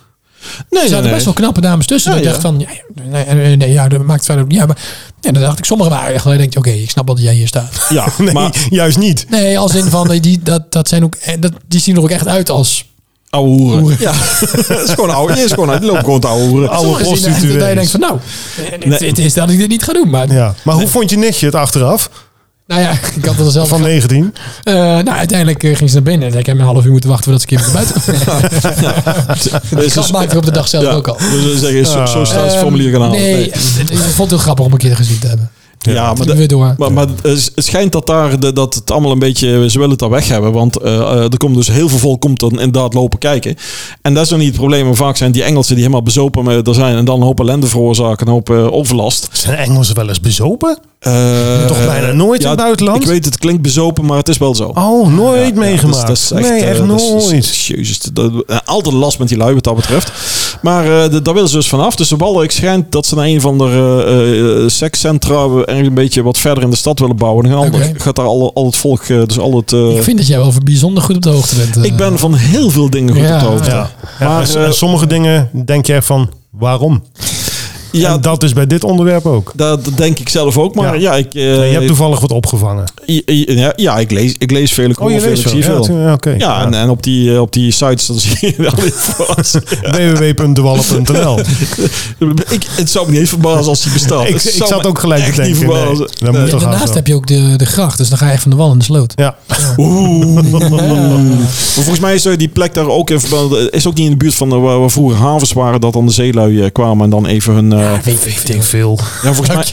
C: nee,
B: Er zaten
C: nee.
B: best wel knappe dames tussen.
C: Ja,
B: ik dacht
C: ja.
B: van, ja, nee, nee, nee, ja, dat maakt verder ook niet uit. Maar ja, dan dacht ik, sommigen waren echt wel. Ik denk, oké, ik snap wel dat jij hier staat.
C: Ja,
A: Nee,
C: maar
A: juist niet.
B: Nee, als in van, die, dat, dat zijn ook, eh, dat, die zien er ook echt uit als...
C: oude hoeren. Ja, dat is gewoon oude. Je is gewoon, die lopen gewoon te oude hoeren.
A: Oude
B: sommigen zien er echt
A: prostituees.
B: Dat je denkt van, nou, eh, het,
C: Nee.
B: het is dat ik dit niet ga doen. Maar
A: Ja. Maar hoe vond je nichtje het achteraf?
B: nou ja, ik had het er zelf...
A: Van 19?
B: Eh, nou, uiteindelijk eh, ging ze naar binnen. En ik heb een half uur moeten wachten voordat ze een keer weer naar buiten
C: Dus-
B: Die grap maakte ik op de dag zelf
C: ja,
B: ook al.
C: Dus we zeggen, zo, zo staat het
B: Ehm,
C: formulier gaan halen.
B: Nee, ik vond het heel grappig om een keer gezien te hebben.
C: Ja, maar,
B: Gingen we door.
C: maar, maar het schijnt dat, daar, de- dat het allemaal een beetje... Ze willen het daar weg hebben. Want eh, eh, er komt dus heel veel volk komt dan inderdaad lopen kijken. En dat is nog niet het probleem. Maar vaak zijn die Engelsen die helemaal bezopen met- er zijn... en dan een hoop ellende veroorzaken, een hoop eh, overlast.
A: Zijn Engelsen wel eens bezopen?
C: Eh,
A: Toch bijna nooit in het buitenland?
C: Ik weet, het klinkt bezopen, maar het is wel zo.
A: Oh, nooit
C: Ja, dus
A: meegemaakt.
C: dat is- dat is
A: nee,
C: eh,
A: echt
C: dat is-
A: nooit.
C: dat is- jezus, dat- dat- altijd last met die lui wat dat betreft. Maar eh, d- daar willen ze dus vanaf. Dus de Wallenrijk schijnt dat ze naar een van de eh, eh, sekscentra ergens een beetje wat verder in de stad willen bouwen. En dan
B: Oké.
C: gaat daar al, al het volk, eh, dus al het... eh,
B: Ik vind dat jij wel bijzonder goed op de hoogte bent. eh.
C: ik ben van heel veel dingen goed
B: Ja.
C: op de hoogte.
A: ja. Ja,
C: Maar,
A: en s- en
C: eh,
A: sommige dingen denk je echt van, waarom?
C: Ja,
A: en dat is bij dit onderwerp ook.
C: dat dat denk ik zelf ook. Maar ja, ik... eh,
A: je hebt toevallig wat opgevangen.
C: i- i- ja, ja, ik lees, ik lees veel, ik
A: Oh,
C: hoor veel, ik
A: wel.
C: zie
A: Ja,
C: veel.
A: tu- ja, oké.
C: Ja,
A: Ja.
C: en, en op, die, eh, op die sites dan zie je wel informatie.
A: www.dewallen.nl
C: Ik, het zou me niet eens verbazen als die bestaat.
A: Ik,
C: Het
A: ik
C: zou
A: zat
C: me
A: ook gelijk te
C: echt niet
A: denken. nee,
C: verbazen.
A: dat moet
C: Nee.
B: Ja,
A: toch haast
B: daarnaast
A: wel.
B: heb je ook de, de gracht, dus dan ga je echt van de wal in de sloot.
A: Ja,
C: Maar volgens mij is eh, die plek daar ook in verband. Is ook niet in de buurt van eh, waar, waar vroeger havens waren. Dat dan de zeelui eh, kwamen en dan even hun. eh, ja,
B: Weet ik
A: denk veel.
C: volgens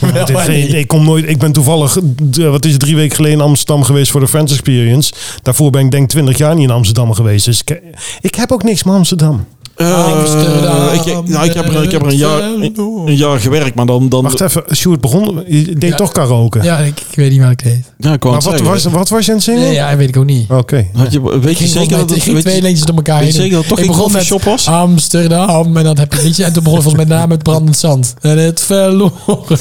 C: mij.
A: Dit- ik, kom nooit, ik ben toevallig, d- eh, wat is het, drie weken geleden in Amsterdam geweest voor de Friends Experience. Daarvoor ben ik denk 20 jaar niet in Amsterdam geweest. Dus ik, ik heb ook niks met Amsterdam.
C: Eh,
B: Amsterdam,
C: ik, ik- nou, ik, heb er, ik heb er een, jaar, een, een jaar gewerkt, maar dan. dan
A: Wacht even, Sjoerd begon, je deed
B: Ja.
A: toch karaoke?
B: Ja, ik, ik weet niet waar ik deed.
C: ja, ik wou
A: maar
C: het
A: wat
C: zeggen.
A: was, wat was je aan het zingen?
B: Nee, ja, weet ik ook niet.
A: Oké.
C: Had je, weet je
B: Ik ging,
C: zeker dat het.
B: ik ging
C: weet je-
B: twee leentjes door elkaar
C: weet je
B: heen.
C: zeker dat het toch
B: ik
C: geen
B: begon met
C: coffeeshop was?
B: Amsterdam en dat heb je liedje. En toen begon het volgens mij na met brandend zand. En het verloren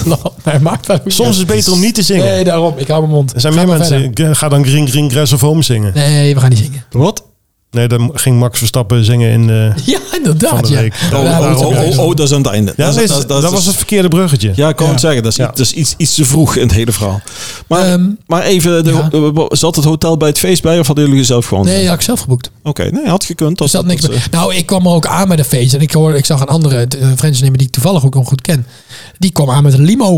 B: land. Hij maakt dat ook
A: Soms is het beter om niet te zingen.
B: Nee, daarom. Ik hou mijn mond.
A: er zijn
B: Ga
A: meer
B: maar
A: mensen.
B: verder.
A: Ga dan Green Green Grass of Home zingen.
B: Nee, we gaan niet zingen.
C: Wat?
A: Nee, dan ging Max Verstappen zingen in eh, de...
B: Ja, inderdaad.
A: Van de
B: ja.
A: week.
B: Ja,
A: Oh,
B: daar
C: oh,
B: hebben we
C: oh,
B: het ook
C: oh,
B: over.
C: oh, dat is aan het einde.
A: Ja,
C: dat,
A: nee,
C: is- dat- dat
A: dat
C: is-
A: was het verkeerde bruggetje.
C: Ja, ik kan
B: Ja.
C: het zeggen. Dat is,
A: Ja.
C: dat is iets, iets te vroeg in het hele verhaal. Maar,
B: Ehm,
C: maar even, de-
B: ja.
C: eh, zat het hotel bij het feest bij of hadden jullie zelf gewoon?
B: Nee, dat had ik zelf geboekt.
C: Oké, nee, had gekund.
B: Er
C: Als
B: zat niks
C: dat,
B: bij.
C: eh,
B: Nou, ik kwam er ook aan met een feest. En ik, hoorde, ik zag een andere eh, Frenchnemer die ik toevallig ook nog goed ken. Die kwam aan met een limo.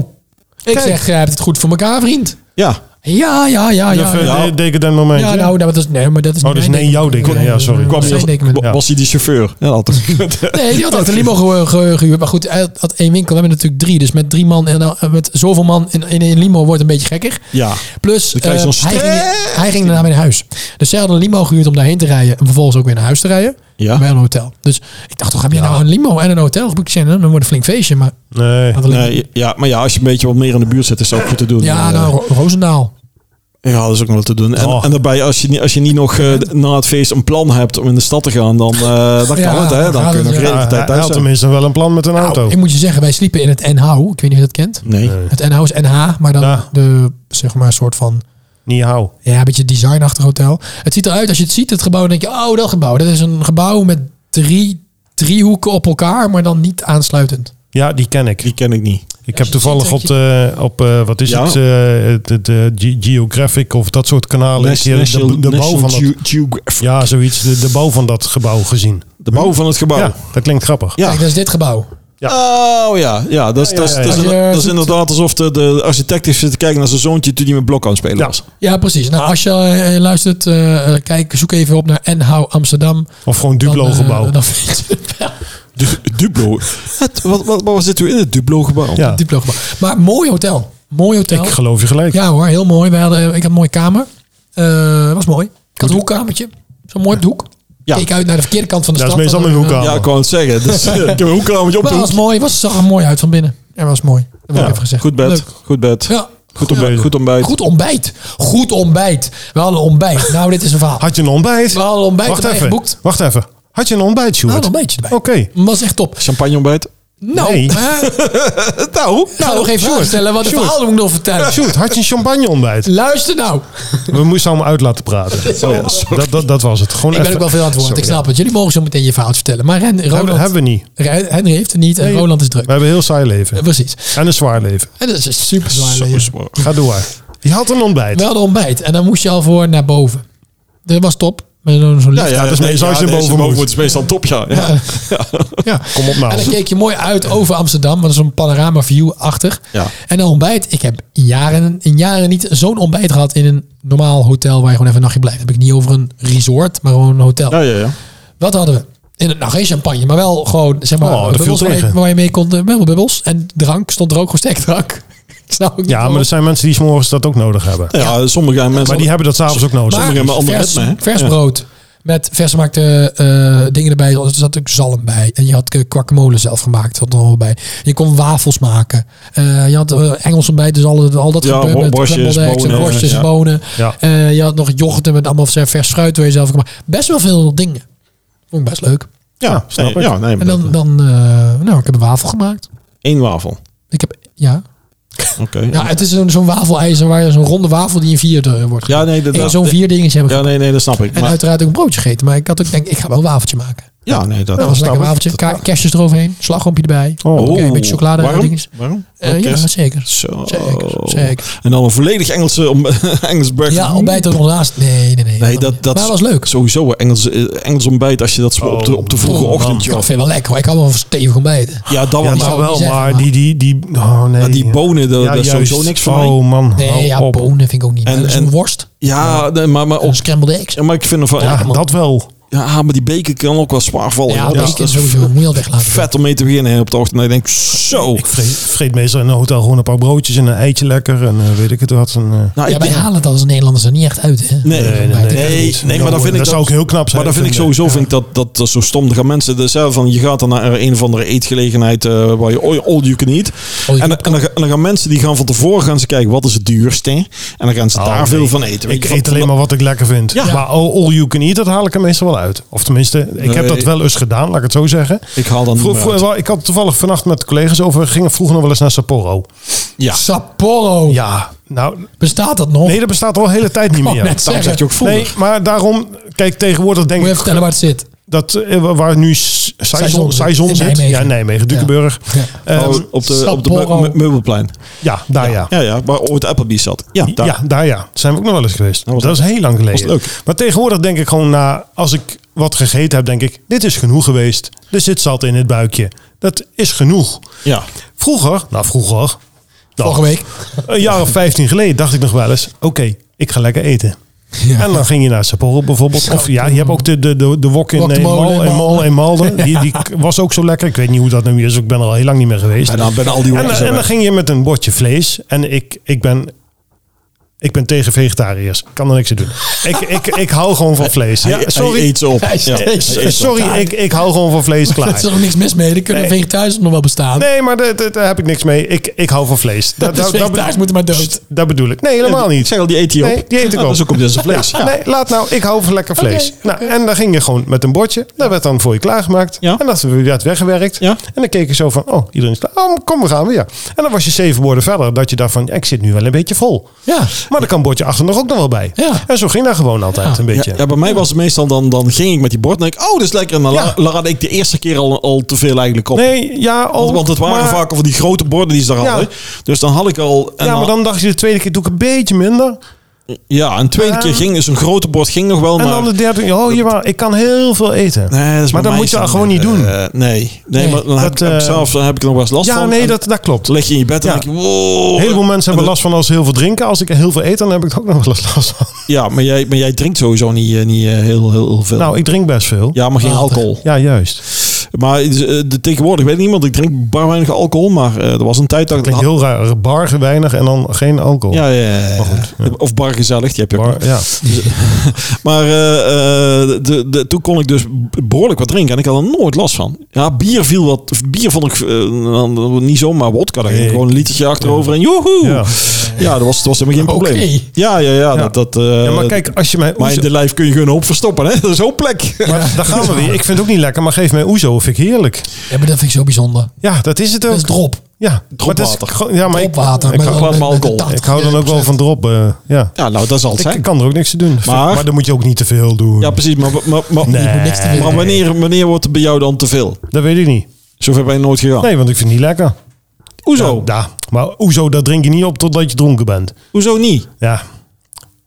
B: Ik
C: Kijk.
B: zeg, jij hebt het goed voor elkaar, vriend.
C: ja,
B: Ja, ja, ja, ja.
A: Even
B: Ja,
A: een decadent momentje.
B: nou, nou, dat is, nee, maar dat is
A: Oh, dat is
B: mijn
A: nee, jouw
B: decadent.
A: decadent. Ja, sorry.
B: Dat
C: kwam
B: is
C: hij
B: mijn decadent.
C: als- wa- was hij de chauffeur? Ja, dat had gekund.
B: Nee, die had echt een limo ge- ge- gehuurd. Maar goed, hij had- had één winkel. We hebben natuurlijk drie. Dus met drie man en dan- met zoveel man in, in een limo wordt het een beetje gekker.
C: ja.
B: Plus,
C: Dan krijg je
B: eh,
C: zo'n
B: hij, ging,
C: stress.
B: hij ging daarna weer naar huis. Dus zij hadden een limo gehuurd om daarheen te rijden. En vervolgens ook weer naar huis te rijden.
C: Ja.
B: Bij een hotel. Dus ik dacht, toch heb je nou een limo en een hotel geboekt? Ik zei, nou, Dan wordt het een flink feestje. Maar
A: Nee.
B: hadden alleen-
C: Nee, ja, maar ja, als je een beetje wat meer in de buurt zit, is dat ook goed te doen.
B: ja,
C: Eh,
B: nou, Ro- Roosendaal.
C: Ja, dat is ook nog wel te doen. En,
A: Oh.
C: en daarbij, als je, niet- als je niet nog eh, na het feest een plan hebt om in de stad te gaan, dan, eh, dan kan
B: Ja,
C: het, hè?
B: dan
C: Dan
B: gaat
C: kun
B: het,
C: je nog
B: ja.
C: redelijk
A: Ja,
C: tijd
A: hij
C: thuis
A: had
C: zijn.
A: tenminste wel een plan met een auto.
B: Nou, ik moet je zeggen, wij sliepen in het NH. Ik weet niet of je dat kent.
C: Nee.
B: Het NH is NH, maar dan
A: Ja.
B: de, zeg maar, soort van...
A: Niet hou.
B: Ja, een beetje designachtig hotel. Het ziet eruit, als je het ziet, het gebouw, dan denk je, oh, dat gebouw. Dat is een gebouw met drie driehoeken op elkaar, maar dan niet aansluitend.
A: Ja, die ken ik.
C: Die ken ik niet.
A: Ik
B: Als
A: heb
B: je
A: toevallig
B: ziet
A: op,
B: dat
A: de, op eh, wat is
C: Ja.
A: het, eh, het- het, eh, Ge- Geographic of dat soort kanalen, een keer de, de bouw van dat,
C: Ge- Geographic.
A: ja, zoiets, de, de bouw van dat gebouw gezien.
C: De bouw van het gebouw.
A: Ja,
C: Ja.
A: dat klinkt grappig.
B: Kijk, dat is dit gebouw.
C: Oh ja, ja, dat is, dat is,
A: Ja, ja,
C: dat is,
B: ja, ja.
C: dat is inderdaad alsof de, de architect heeft zitten kijken naar zijn zoontje toen hij met blok aan het spelen
A: Ja.
C: was.
B: Ja, precies. Nou, als je eh, luistert, eh, eh, kijk, zoek even op naar NH Amsterdam.
A: Of gewoon Duplo
B: Dan, eh,
A: gebouw.
B: dan vind je het wel.
C: Dus Duplo. Het, wat, wat, wat zit u in het Duplo-gebouw?
A: ja,
B: Duplo gebouw. Maar mooi hotel. Mooi hotel.
A: ik geloof je gelijk.
B: Ja hoor, heel mooi. Wij hadden, eh, ik had een mooie kamer. Eh, was mooi. Ik had een hoekkamertje. Zo mooi op de hoek.
C: Ja.
B: Keek uit naar de verkeerde kant van de
A: Ja, dat
B: stad.
A: is meestal
B: Dan,
A: met een
B: eh,
A: hoekkamer.
C: Ja, ik wou het zeggen. Dus, eh, ik heb een hoekraamtje op de
B: Maar
C: hoek.
B: was mooi. Was, zag er mooi uit van binnen. Ja, was mooi. Dat wil ik
C: Ja,
B: even gezegd.
C: Goed bed.
B: Leuk.
C: Goed bed.
B: Ja.
C: Goed, ontbijt,
A: Ja.
C: goed ontbijt.
B: Goed ontbijt. Goed ontbijt. We hadden ontbijt. Nou, dit is een verhaal.
A: Had je een ontbijt?
B: We hadden ontbijt
A: Wacht
B: erbij
A: even,
B: geboekt.
A: wacht even. Had je een ontbijt,
B: We
A: Sjoerd?
B: hadden een beetje erbij.
A: Oké.
B: Was echt top.
C: Champagne ontbijt.
B: Nou,
A: Nee.
B: hè?
C: Nou,
B: Nou, nog even voorstellen wat het
A: Sjoerd.
B: verhaal moet ik nog vertellen.
A: Sjoerd, had je een champagne ontbijt?
B: Luister nou.
A: We moesten allemaal uit laten praten.
B: Zo.
A: dat, dat, dat was het. Gewoon
B: Ik ben
A: even-
B: ook wel veel aan het woord. Ik
A: Sorry.
B: snap het. Jullie mogen zo meteen je verhaal vertellen. Maar Ren,
A: Hebben,
B: Roland,
A: hebben we niet.
B: Ren- Henry heeft het niet en
A: Nee.
B: Roland is druk.
A: We hebben een heel saai
B: Eh,
A: leven.
B: Precies.
A: En een zwaar leven.
B: En dat is super zwaar.
C: Zo
B: leven.
C: zwaar.
A: Ga door. Je had een ontbijt.
B: We hadden ontbijt en dan moest je al voor naar boven. Dat was top. Met zo'n zo'n lift.
A: ja, dat is meestal als je
C: nee,
A: boven moet.
C: Het is meestal top, ja. ja.
B: Ja.
A: Kom op nou.
B: En dan keek je mooi uit over Amsterdam. Want dat is een panorama view achter.
C: Ja.
B: En dan ontbijt. Ik heb in jaren, in jaren niet zo'n ontbijt gehad in een normaal hotel waar je gewoon even een nachtje blijft. Dan heb ik niet over een resort, maar gewoon een hotel.
C: Ja, ja, ja.
B: Wat hadden we? In het, nou, geen champagne, maar wel gewoon, zeg maar,
A: Oh, dat viel
B: bubbels waar, je,
A: tegen.
B: waar je mee kon, eh, wel bubbels. En drank, stond er ook gewoon sterkdrank. Ik snap ook niet
A: Ja, maar
B: waarom.
A: er zijn mensen die s'morgens dat ook nodig hebben.
C: ja, sommige mensen...
A: Maar die hebben dat s'avonds ook nodig.
B: Maar
C: Sommigen hebben andere
B: vers,
C: ritme, hè?
B: vers
C: Ja.
B: brood. Met vers gemaakte eh, dingen erbij. Er zat ook zalm bij. En je had eh, guacamole zelf gemaakt. Dat er al bij. Je kon wafels maken. Eh, je had eh, Engels ontbijt. Dus al, al dat
C: Ja,
B: gebeuren met
C: worstjes,
B: scrambled eggs en
C: bonen,
B: worstjes,
C: ja.
B: bonen.
A: Ja.
B: Eh, je had nog yoghurt met allemaal vers fruit. Waar je zelf gemaakt. Best wel veel dingen. Vond ik best leuk.
A: Ja, snap
C: nee,
A: ik.
C: Ja, nee,
B: En dan, dan eh, nou, ik heb een wafel gemaakt.
C: Eén wafel.
B: Ik heb, ja.
C: Oké.
B: ja
C: Ja.
B: het is zo'n zo'n wafelijzer waar je zo'n ronde wafel die in vier eh, wordt
C: Ja, nee, dat-
B: En
C: dat-
B: zo'n vier dingetje heb ik.
C: Ja, nee, nee, dat snap ik.
B: en
C: Maar,
B: uiteraard ook een broodje gegeten. Maar ik had ook denk ik ga wel een wafeltje maken.
C: ja, nee, dat...
B: Dat was een lekker
A: snap
B: wafeltje. Ka- Kerstjes eroverheen. Slagroomje erbij.
A: Oh.
B: Oké, een beetje chocolade.
C: Waarom?
B: dingetjes.
C: Waarom?
B: Eh, ja,
C: Kerst? Oh.
B: zeker.
C: Zo.
B: Zeker, zeker.
C: En dan een volledig Engelse om, Engels breakfast.
B: Ja, ontbijt er nog naast. Nee, nee, nee.
C: Nee, dat, dat
B: maar het was leuk.
C: Sowieso, hè, Engels, eh, Engels ontbijt als je dat zo op, de, op de vroege
A: Oh,
C: ochtend...
B: Ja,
C: joh.
B: dat vind ik wel lekker. hoor. Ik kan wel van stevig ontbijten.
C: Ja, dat
A: Ja,
C: was...
A: nou
B: zou ik
A: wel,
B: niet zeggen,
A: maar
B: maar-
A: die, die, die, oh nee.
C: Ja, die bonen, daar
A: Ja,
C: daar is
A: juist.
C: sowieso niks van.
A: Oh man, hou
B: Nee, ja,
A: op.
B: bonen vind ik ook niet.
C: En-
B: En,
C: en-
B: een worst.
C: Ja, nee, maar, maar,
B: Een
C: ook,
B: scrambled eggs.
C: maar ik vind ervan...
A: Ja,
C: Ja,
A: dat wel.
C: ja, ah, maar die beker kan ook wel zwaar vallen.
B: Ja,
C: joh.
B: dat
C: Dat is- dat
B: is
C: is
B: sowieso. Moet je al weglaten.
C: vet om mee te beginnen hè, op de ochtend. En ik denk, zo.
A: Ik vreet, vreet meestal in een hotel gewoon een paar broodjes en een eitje lekker en eh, weet ik het wat. En, eh,
C: Nou,
B: Ja,
C: ik
B: wij
C: denk-
B: halen het als Nederlanders er niet echt uit. Hè?
C: nee, nee,
A: nee,
C: nee,
A: nee,
C: maar dan vind ik
A: dat zou ook heel knap zijn.
C: Maar dan vind ik sowieso vind ik dat, dat, dat zo stom. Dan gaan mensen dus, hè, van je gaat dan naar een of andere eetgelegenheid eh, waar je all all you can eat.
B: can
C: en, dan- en, dan, ga- en dan gaan mensen die gaan van tevoren gaan ze kijken wat is het duurste. En dan gaan ze
A: Oh,
C: daar
A: nee.
C: veel van eten. weet
A: Ik
C: je, van-
A: eet alleen
C: van-
A: maar wat ik lekker vind.
C: Ja.
A: Maar all, all you can eat, dat haal ik er meestal wel uit. Of tenminste, ik heb
C: Nee.
A: dat wel eens gedaan, laat ik het zo zeggen.
C: Ik haal dan
A: Vroeg,
C: niet meer uit.
A: vroeg- ik had toevallig vannacht met collega's over, we gingen vroeger nog wel eens naar Sapporo.
C: Ja.
B: Sapporo.
A: Ja, nou,
B: Bestaat dat nog?
A: nee, dat bestaat al een hele tijd niet
B: Oh,
A: meer.
B: net
C: Daarom
B: zeggen.
C: zat je ook vroeger.
A: Nee, maar daarom Kijk, tegenwoordig denk
B: Moet je
A: ik
B: even vertellen waar het zit.
A: dat eh, waar nu S- Saison Saison
B: Saison in
A: zit.
B: Nijmegen.
A: Ja, Nijmegen, Dukenburg.
B: Ja.
A: Ehm,
C: Oh, op de, op de
B: Sapporo.
C: meu- meubelplein.
A: ja, daar Ah, ja.
C: Ja, ja, waar ooit Applebee's zat. Ja, daar.
A: Ja, daar ja. Zijn we ook nog wel eens geweest.
C: Dat was
A: Dat is heel lang geleden.
C: was leuk.
A: Maar tegenwoordig denk ik gewoon na, als ik wat gegeten heb, denk ik, dit is genoeg geweest. Er zit zat in het buikje. Dat is genoeg.
C: Ja.
A: Vroeger, nou vroeger, nou,
B: Vorige week.
A: een jaar of 15 geleden dacht ik nog wel eens, oké, ik ga lekker eten.
B: Ja.
A: En dan ging je naar Sapporo bijvoorbeeld. Of ja, je hebt ook de, de, de, de wok in
B: Wok de
A: eh,
B: Molen,
A: Mal- in Mal- in Malden. Die, die was ook zo lekker. Ik weet niet hoe dat nu is. Ik ben er al heel lang niet meer geweest.
C: En dan ben al die
A: En,
C: hoekjes
A: dan- en dan
C: weg.
A: ging je met een bordje vlees. En ik, ik ben... Ik ben tegen vegetariërs. Ik kan er niks aan doen. Ik, ik, ik hou gewoon van vlees. Ja,
C: Hij- Hij
A: sorry, Eh,
C: eet ze op.
B: Hij
C: Ja.
B: eet ze
C: Hij eet ze op.
A: sorry ik, ik hou gewoon van vlees.
B: Er is
A: Klaar.
B: er ook niks mis mee. Er kunnen
A: Nee.
B: vegetariërs nog wel bestaan.
A: Nee, maar daar- daar daar heb ik niks mee. Ik, ik hou van vlees. Dat,
B: Dat is
A: dat, dat,
B: vegetariërs moeten maar dood.
A: dat bedoel ik. Nee, helemaal
C: Ik
A: niet.
C: zeg al, die eet hij op.
A: Nee, die eet ik
C: Ja,
A: op.
C: Dus ook op deze vlees.
A: Ja,
C: Ja.
A: Nee, laat nou, ik hou van lekker vlees.
B: Oké,
A: nou, En dan ging je gewoon met een bordje. Dat werd dan voor je klaargemaakt.
C: Ja.
A: En dat werd weggewerkt.
C: Ja.
A: En dan keek je zo van, oh, iedereen is klaar. Oh, kom, we gaan weer. En dan was je zeven woorden verder. Dat je dacht van, ja, ik zit nu wel een beetje vol.
B: Ja.
A: Maar dan kan bordje achter nog ook nog wel bij.
B: Ja.
A: En zo ging dat gewoon altijd
B: Ja.
A: een beetje.
C: Ja, ja, bij mij was het meestal dan, dan ging ik met die bord en denk ik, oh, dat is lekker. En dan
A: Ja.
C: la- laadde ik de eerste keer al, al te veel eigenlijk op.
A: Nee, ja, ook,
C: want, want het waren
A: maar-
C: vaak over die grote borden die ze daar
A: Ja.
C: hadden. Dus dan had ik al... En
A: Ja, maar dan dacht je de tweede keer doe ik een beetje minder.
C: ja, een tweede
A: Ja.
C: keer ging dus een grote bord ging nog wel,
A: En
C: maar...
A: dan de derde, oh, je ik kan heel veel eten.
C: Nee, dat is
A: maar
C: bij
A: dat
C: mij
A: moet je
C: zo-
A: dan gewoon niet
C: eh,
A: doen.
C: nee. nee, maar dan heb
A: dat,
C: ik, heb ik
A: eh,
C: zelf dan heb ik er nog wel eens last
A: ja,
C: van.
A: nee,
C: En
A: dat, dat klopt.
C: dan lig je in je bed en
A: Ja.
C: denk je, wow.
A: Heel veel mensen hebben
C: En
A: last van als ze heel veel drinken. Als ik heel veel eet, dan heb ik er ook nog wel eens last van.
C: dat- Ja, maar jij, maar jij drinkt sowieso niet, eh, niet eh, heel, heel, heel veel.
A: Nou, ik drink best veel.
C: ja, maar geen
B: Water.
C: alcohol.
A: Ja, juist.
C: Maar eh, de, tegenwoordig weet ik niet, want ik drink bar weinig alcohol. Maar eh, er was een tijd dat ik...
A: Klinkt heel raar. Bar weinig en dan geen alcohol.
C: Ja, ja, ja, ja.
A: Maar goed, ja.
C: Of bar gezellig, die heb je ook.
A: Bar, ja.
C: Maar eh, eh, de, de, toen kon ik dus behoorlijk wat drinken en ik had er nooit last van. Ja, bier viel wat. Bier vond ik eh, dan niet zomaar wodka. Daar ging
A: Nee.
C: gewoon een litertje achterover en joehoe.
A: Ja.
C: Ja, dat, was, dat was helemaal geen
B: Oké.
C: probleem. Ja, ja, ja, Dat, dat, eh,
A: Ja, maar kijk, als je mij
C: maar in
A: Oezo-
C: de lijf kun je gewoon een hoop verstoppen, hè? Dat is zo'n plek.
A: Maar daar gaan we weer. Ik vind het ook niet lekker, maar geef mij oezo, vind ik heerlijk.
B: Ja, maar dat vind ik zo bijzonder.
A: Ja, dat is het ook.
B: Dat is drop.
A: ja, maar dat is
C: Dropwater.
A: gewoon- ja, maar ik,
B: Dropwater.
A: Ik,
B: met-
C: hou-
B: met- met-
C: maar
B: met
C: alcohol.
A: ik,
B: 80,
A: hou dan ook wel
B: 40%.
A: van drop. eh, ja.
C: Ja, nou, dat zal het
A: Ik, ik
C: zijn.
A: kan er ook niks aan doen.
C: Maar-
A: dan moet je ook niet te veel doen.
C: Ja, precies. Maar, maar, maar,
A: Nee.
B: niks te
C: maar
B: vinden.
C: wanneer, wanneer wordt het bij jou dan te veel?
A: Dat weet ik niet.
C: Zover ben je nooit gegaan.
A: Nee, want ik vind het niet lekker.
C: Hoezo?
A: Ja, maar oezo, dat drink je niet op totdat je dronken bent.
C: Hoezo niet? Het
A: Ja.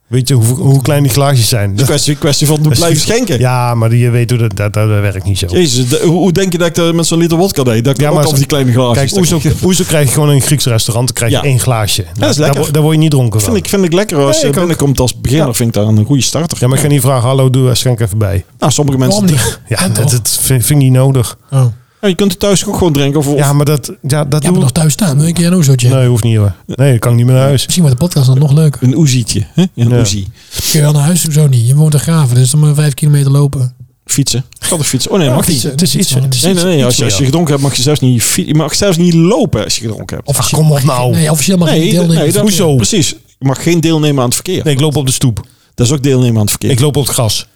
A: Weet je hoe, hoe klein die glaasjes zijn?
C: is een kwestie, kwestie van blijven schenken.
A: Ja, maar je weet hoe dat, dat, dat werkt niet zo.
C: Jezus, de- hoe hoe denk je dat ik dat met zo'n liter wodka deed? Dat ik
A: Ja,
C: ja,
A: maar
C: ook
A: zo-
C: op die kleine glaasjes.
A: Kijk,
C: stak.
A: oezo, oezo krijg je gewoon in een Grieks restaurant. dan krijg je
C: Ja.
A: één glaasje. Nou,
C: dat is
A: daar
C: lekker.
A: wo- Daar word je niet dronken van.
C: Vind ik, vind ik lekker als
A: Nee,
C: je
A: ik ook.
C: binnenkomt als beginner. Vind ik daar een goede starter.
A: Ja, maar ik ga niet vragen, hallo, doe, eh, schenk even bij.
C: Nou, sommige mensen...
B: Waarom niet?
A: Ja,
B: Kan
A: dat,
B: toch?
A: dat vind, vind ik niet nodig.
B: Oh.
C: Ja, je kunt het thuis ook gewoon drinken. Of, of-
A: Ja, maar dat, ja, dat
B: Ja,
A: doe
B: maar nog thuis staan. Wil ik een oezootje?
A: Nee, hoeft niet hoor. Nee, dat kan ik niet meer naar huis.
B: Misschien wordt de podcast dan nog leuker.
C: een oezietje. Hè? Ja, een
A: Ja.
C: oezie.
A: Dus-
B: Kun je wel naar huis? Hoezo niet? Je woont in Graven, dus dan maar vijf kilometer lopen.
C: Fietsen. Ik had een fietsen. Oh nee,
B: Ja,
C: mag niet.
B: fietsen.
A: Het is iets...
B: Nee,
A: Het is
C: Nee,
A: iets-
C: nee, nee.
A: iets
C: Als je,
A: meer.
C: als je gedronken hebt, mag je zelfs niet fietsen. Je mag zelfs niet lopen als je gedronken hebt.
B: Officieel-
A: kom op nou.
B: Nee, officieel mag je niet
C: nee,
B: deelnemen.
C: nee, dat-
A: Hoezo?
C: Precies. Je mag geen deelnemen aan het verkeer.
A: Nee, ik loop op de stoep.
C: Dat is ook deelnemen aan het verkeer.
A: Ik loop op het gras.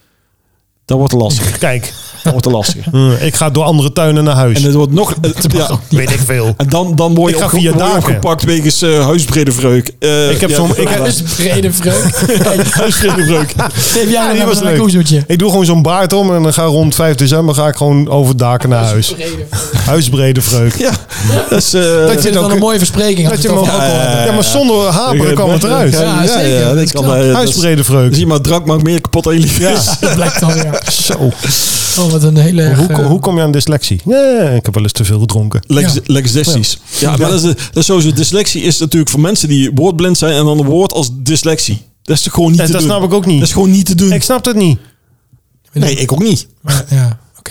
C: Dat wordt lastig.
A: Kijk,
C: Dat wordt lastig.
A: hm, ik ga door andere tuinen naar huis.
C: En het wordt nog... eh, ja,
A: Weet ik veel.
C: en dan, dan word
A: Ik
C: je
A: ga
C: ook,
A: via
C: word je
A: daken.
C: opgepakt wegens eh huisbrede vreuk. Eh,
A: Ik heb
C: ja,
A: zo'n- ik
B: Ja,
A: heb-
B: dat is een brede vreugd.
A: Huisgebruik.
B: Geef jij
A: die
B: nou
A: was
B: een leuk
A: leuk.
B: oezootje.
A: Ik doe gewoon zo'n baard om en dan ga rond 5 december ga ik gewoon over daken naar huis. Huisbrede vreuk.
C: Ja, dat is... eh,
A: Dat
B: Ik
A: je
B: vind het wel
A: dan
B: een
A: mooi.
B: mooie verspreking.
A: Dat je
B: hem
A: hem ook- Ja, maar zonder haperen kwam het eruit.
B: Ja, zeker. Dat is
C: kan,
B: knap.
C: eh, dat is-
A: Huisbrede
C: dat is
A: vreuk.
C: iemand drank maakt meer kapot dan je lief is.
B: Dat blijkt dan weer.
A: Zo.
B: Oh, wat een hele... erg,
A: Hoe,
B: eh,
A: hoe kom je aan dyslexie? Nee, ik heb wel eens te veel gedronken.
C: Lex,
B: Ja.
C: Lexdesties. Ja, maar dat is, de- dat is sowieso. Dyslexie is natuurlijk voor mensen die woordblind zijn en dan een woord als dyslexie. Dat is toch gewoon niet
A: Dat-
C: te
A: dat
C: doen.
A: snap ik ook niet.
C: Dat is gewoon niet te doen.
A: Ik snap het niet.
C: nee, ik ook niet.
B: maar- eh, Ja, oké.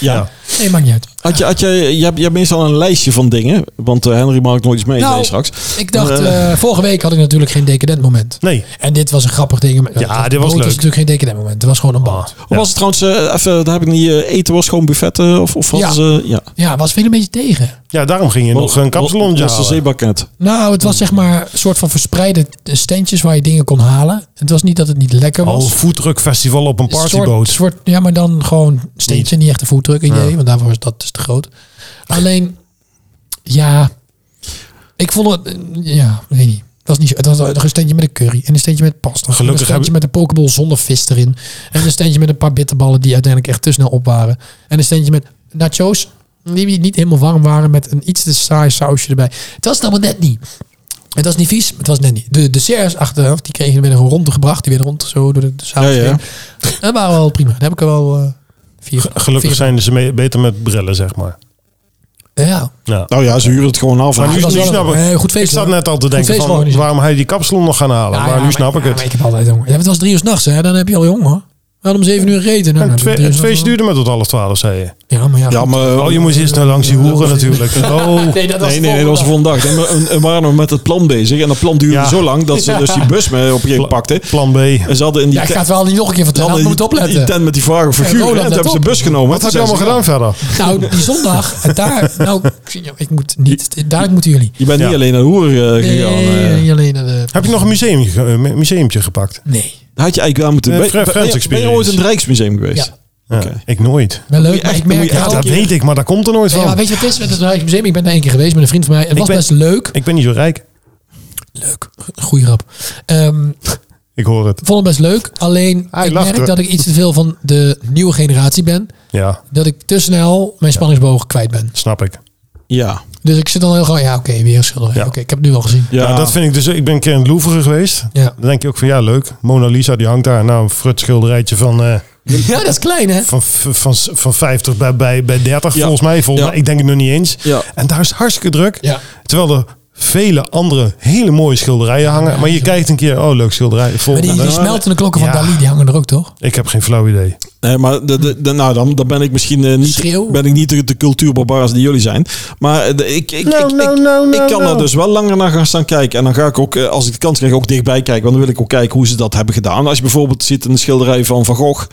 C: Ja.
A: Ja.
B: Nee, maakt niet uit.
C: Had je, had je, je, hebt, je hebt meestal een lijstje van dingen, want eh, Henry maakt nooit iets mee
B: Nou,
C: zei je straks.
B: Ik dacht,
C: Maar, eh,
B: eh, vorige week had ik natuurlijk geen decadent moment.
A: Nee.
B: En dit was een grappig ding.
A: Ja, dit was
B: Het
A: leuk. Ah.
B: was natuurlijk geen decadent moment. Het was gewoon een band.
C: Hoe was het trouwens, eh, even, daar heb ik niet, eh, eten was gewoon buffetten of, of wat?
B: Ja.
C: is, eh, ja.
B: Ja, was veel een beetje tegen.
A: Ja, daarom ging je nog een kapsalon
C: Was de zeebakket.
B: Nou, het was
A: Hmm.
B: zeg maar een soort van verspreide standjes waar je dingen kon halen. Het was niet dat het niet lekker
A: Al
B: was.
A: voetdrukfestival op een
B: Een
A: partyboot.
B: Soort, soort, ja, maar dan gewoon steentje, niet echt een voetdruk idee, want daarvoor is dat dus te groot. Alleen, ja, ik vond het, eh, ja, weet niet. Dat is niet zo. Dat is een steentje met een curry. En een steentje met pasta. en een
A: Gelukkig
B: steentje
A: hebben-
B: met een pokeball zonder vis erin. En een steentje met een paar bitterballen die uiteindelijk echt te snel op waren. En een steentje met nachos die niet helemaal warm waren. Met een iets te saai sausje erbij. Het was het allemaal net niet. Het was niet vies, maar het was net niet. De desserts achteraf, die kregen werden gewoon rondgebracht. Die werden rond zo door de, de saus
C: Ja, ja.
B: heen. Dat waren wel prima. Daar heb ik er wel eh vier.
A: Gelukkig
B: vier-
A: zijn ze mee- beter met brillen, zeg maar.
B: Ja,
A: Ja.
C: Nou ja, ze huren het gewoon af.
A: Maar
B: het
A: nu,
B: was
A: nu
B: wel
A: snap
B: een, eh,
A: ik.
B: goed feest,
A: ik zat
B: hoor.
A: net al te
B: Goed
A: denken
B: feest
A: van
B: georganiseerd.
A: waarom hij die kapsalon nog gaan halen.
B: Ja,
A: maar
B: ja,
A: nu snap
B: maar- ja,
A: ik
B: maar
A: het.
B: ik heb altijd honger. Ja, maar het was drie uur s'nachts, hè? Dan heb je al jong, hoor. We hadden om zeven uur gegeten. Nou,
A: En
B: dan
A: het,
B: heb je om
A: fe-
B: drie uur
A: het
B: s'nachts
A: feest duurde met tot alles twaalf, zei je.
B: wel- Ja, maar ja.
C: Ja,
B: goed.
C: maar...
A: Oh, je moest eerst naar langs die hoeren natuurlijk. Oh.
B: Nee, dat was
C: Nee, nee, nee, dat was de volgende dag. En we- en- en waren we met het plan bezig. En dat plan duurde
A: Ja.
C: zo lang dat ze dus die bus mee op een gegeven moment pakten.
A: Plan B.
C: En ze hadden in die
B: Ja, ik
C: te-
B: ga het wel niet nog een keer
C: ze
B: vertellen.
C: hadden
B: Je
C: in
B: moet
C: die- die
B: opletten.
C: tent met die vragen figuren.
B: Roland,
C: en toen
B: let
C: hebben ze
B: op.
C: de bus genomen.
A: Wat
C: Toen
A: heb je allemaal
C: zeiden
A: gedaan
C: ze,
A: verder?
B: Nou, die zondag, en daar... Nou, ik zie- ik moet niet... Daar moeten jullie.
C: Je bent
A: Ja.
C: niet alleen naar de hoer eh,
B: Nee,
C: gegaan. eh.
B: niet alleen naar de...
A: Heb je nog een museum, ge- eh, mu- museumpje gepakt?
B: Nee.
C: Had je eigenlijk aan moeten...
A: Eh,
C: Ben-
A: Fred
C: ben-
A: Friends
C: ben je- Ben je
A: Experience.
C: ooit in het Rijksmuseum
B: Ja,
C: geweest?
A: Ja,
C: Oké.
A: Ik nooit.
B: wel leuk, maar
C: echt-
B: ik
C: moet
B: merk
C: je echt
B: wel...
A: Dat weet ik, maar daar komt er nooit
B: Nee, maar
A: van.
B: weet je wat het is met het Rijksmuseum? Ik ben daar één keer geweest met een vriend van mij. Het was
A: ben-
B: best leuk.
A: Ik ben niet zo rijk.
B: Leuk. Goeie grap. Ehm
A: Ik hoor het.
B: vond het best leuk. Alleen,
A: Hij
B: ik
A: lacht,
B: merk
A: hoor.
B: dat ik iets te veel van de nieuwe generatie ben.
A: Ja,
B: dat ik te snel mijn spanningsboog kwijt ben.
A: snap ik.
C: Ja.
B: Dus ik zit dan heel gewoon, ja, oké, weer schilderen.
A: Ja.
B: Oké, ik heb het nu al gezien.
A: Ja, dat vind ik dus. Ik ben een keer in het Louvre geweest.
B: Ja,
A: Dan denk je ook van ja, leuk. Mona Lisa die hangt daar. Nou, een frut schilderijtje van, eh,
B: ja dat is klein, hè?
A: van, van, van, van 50 bij, bij, bij 30
C: Ja.
A: volgens mij. Volgens
C: Ja.
A: mij. Ik denk het nog niet eens.
C: Ja.
A: En daar is het hartstikke druk.
B: Ja.
A: Terwijl er vele andere hele mooie schilderijen hangen. Maar je kijkt een keer, oh leuk schilderij.
B: Maar
A: Volgende.
B: die, die
A: Nou,
B: smeltende klokken van
A: Ja.
B: Dali, die hangen er ook, toch?
A: Ik heb geen flauw idee.
C: Nee, maar de, de, de- nou, dan, dan ben ik misschien eh, niet,
B: Schreeuw.
C: ben ik niet de, de cultuurbarbaars die jullie zijn. Maar eh, de- ik, ik,
A: Nou,
C: ik,
A: nou,
C: ik,
A: nou, nou,
C: ik kan
A: nou.
C: daar dus wel langer naar gaan staan kijken. En dan ga ik ook, eh, als ik de kans krijg, ook dichtbij kijken. Want dan wil ik ook kijken hoe ze dat hebben gedaan. Als je bijvoorbeeld zit in de schilderij van Van Gogh.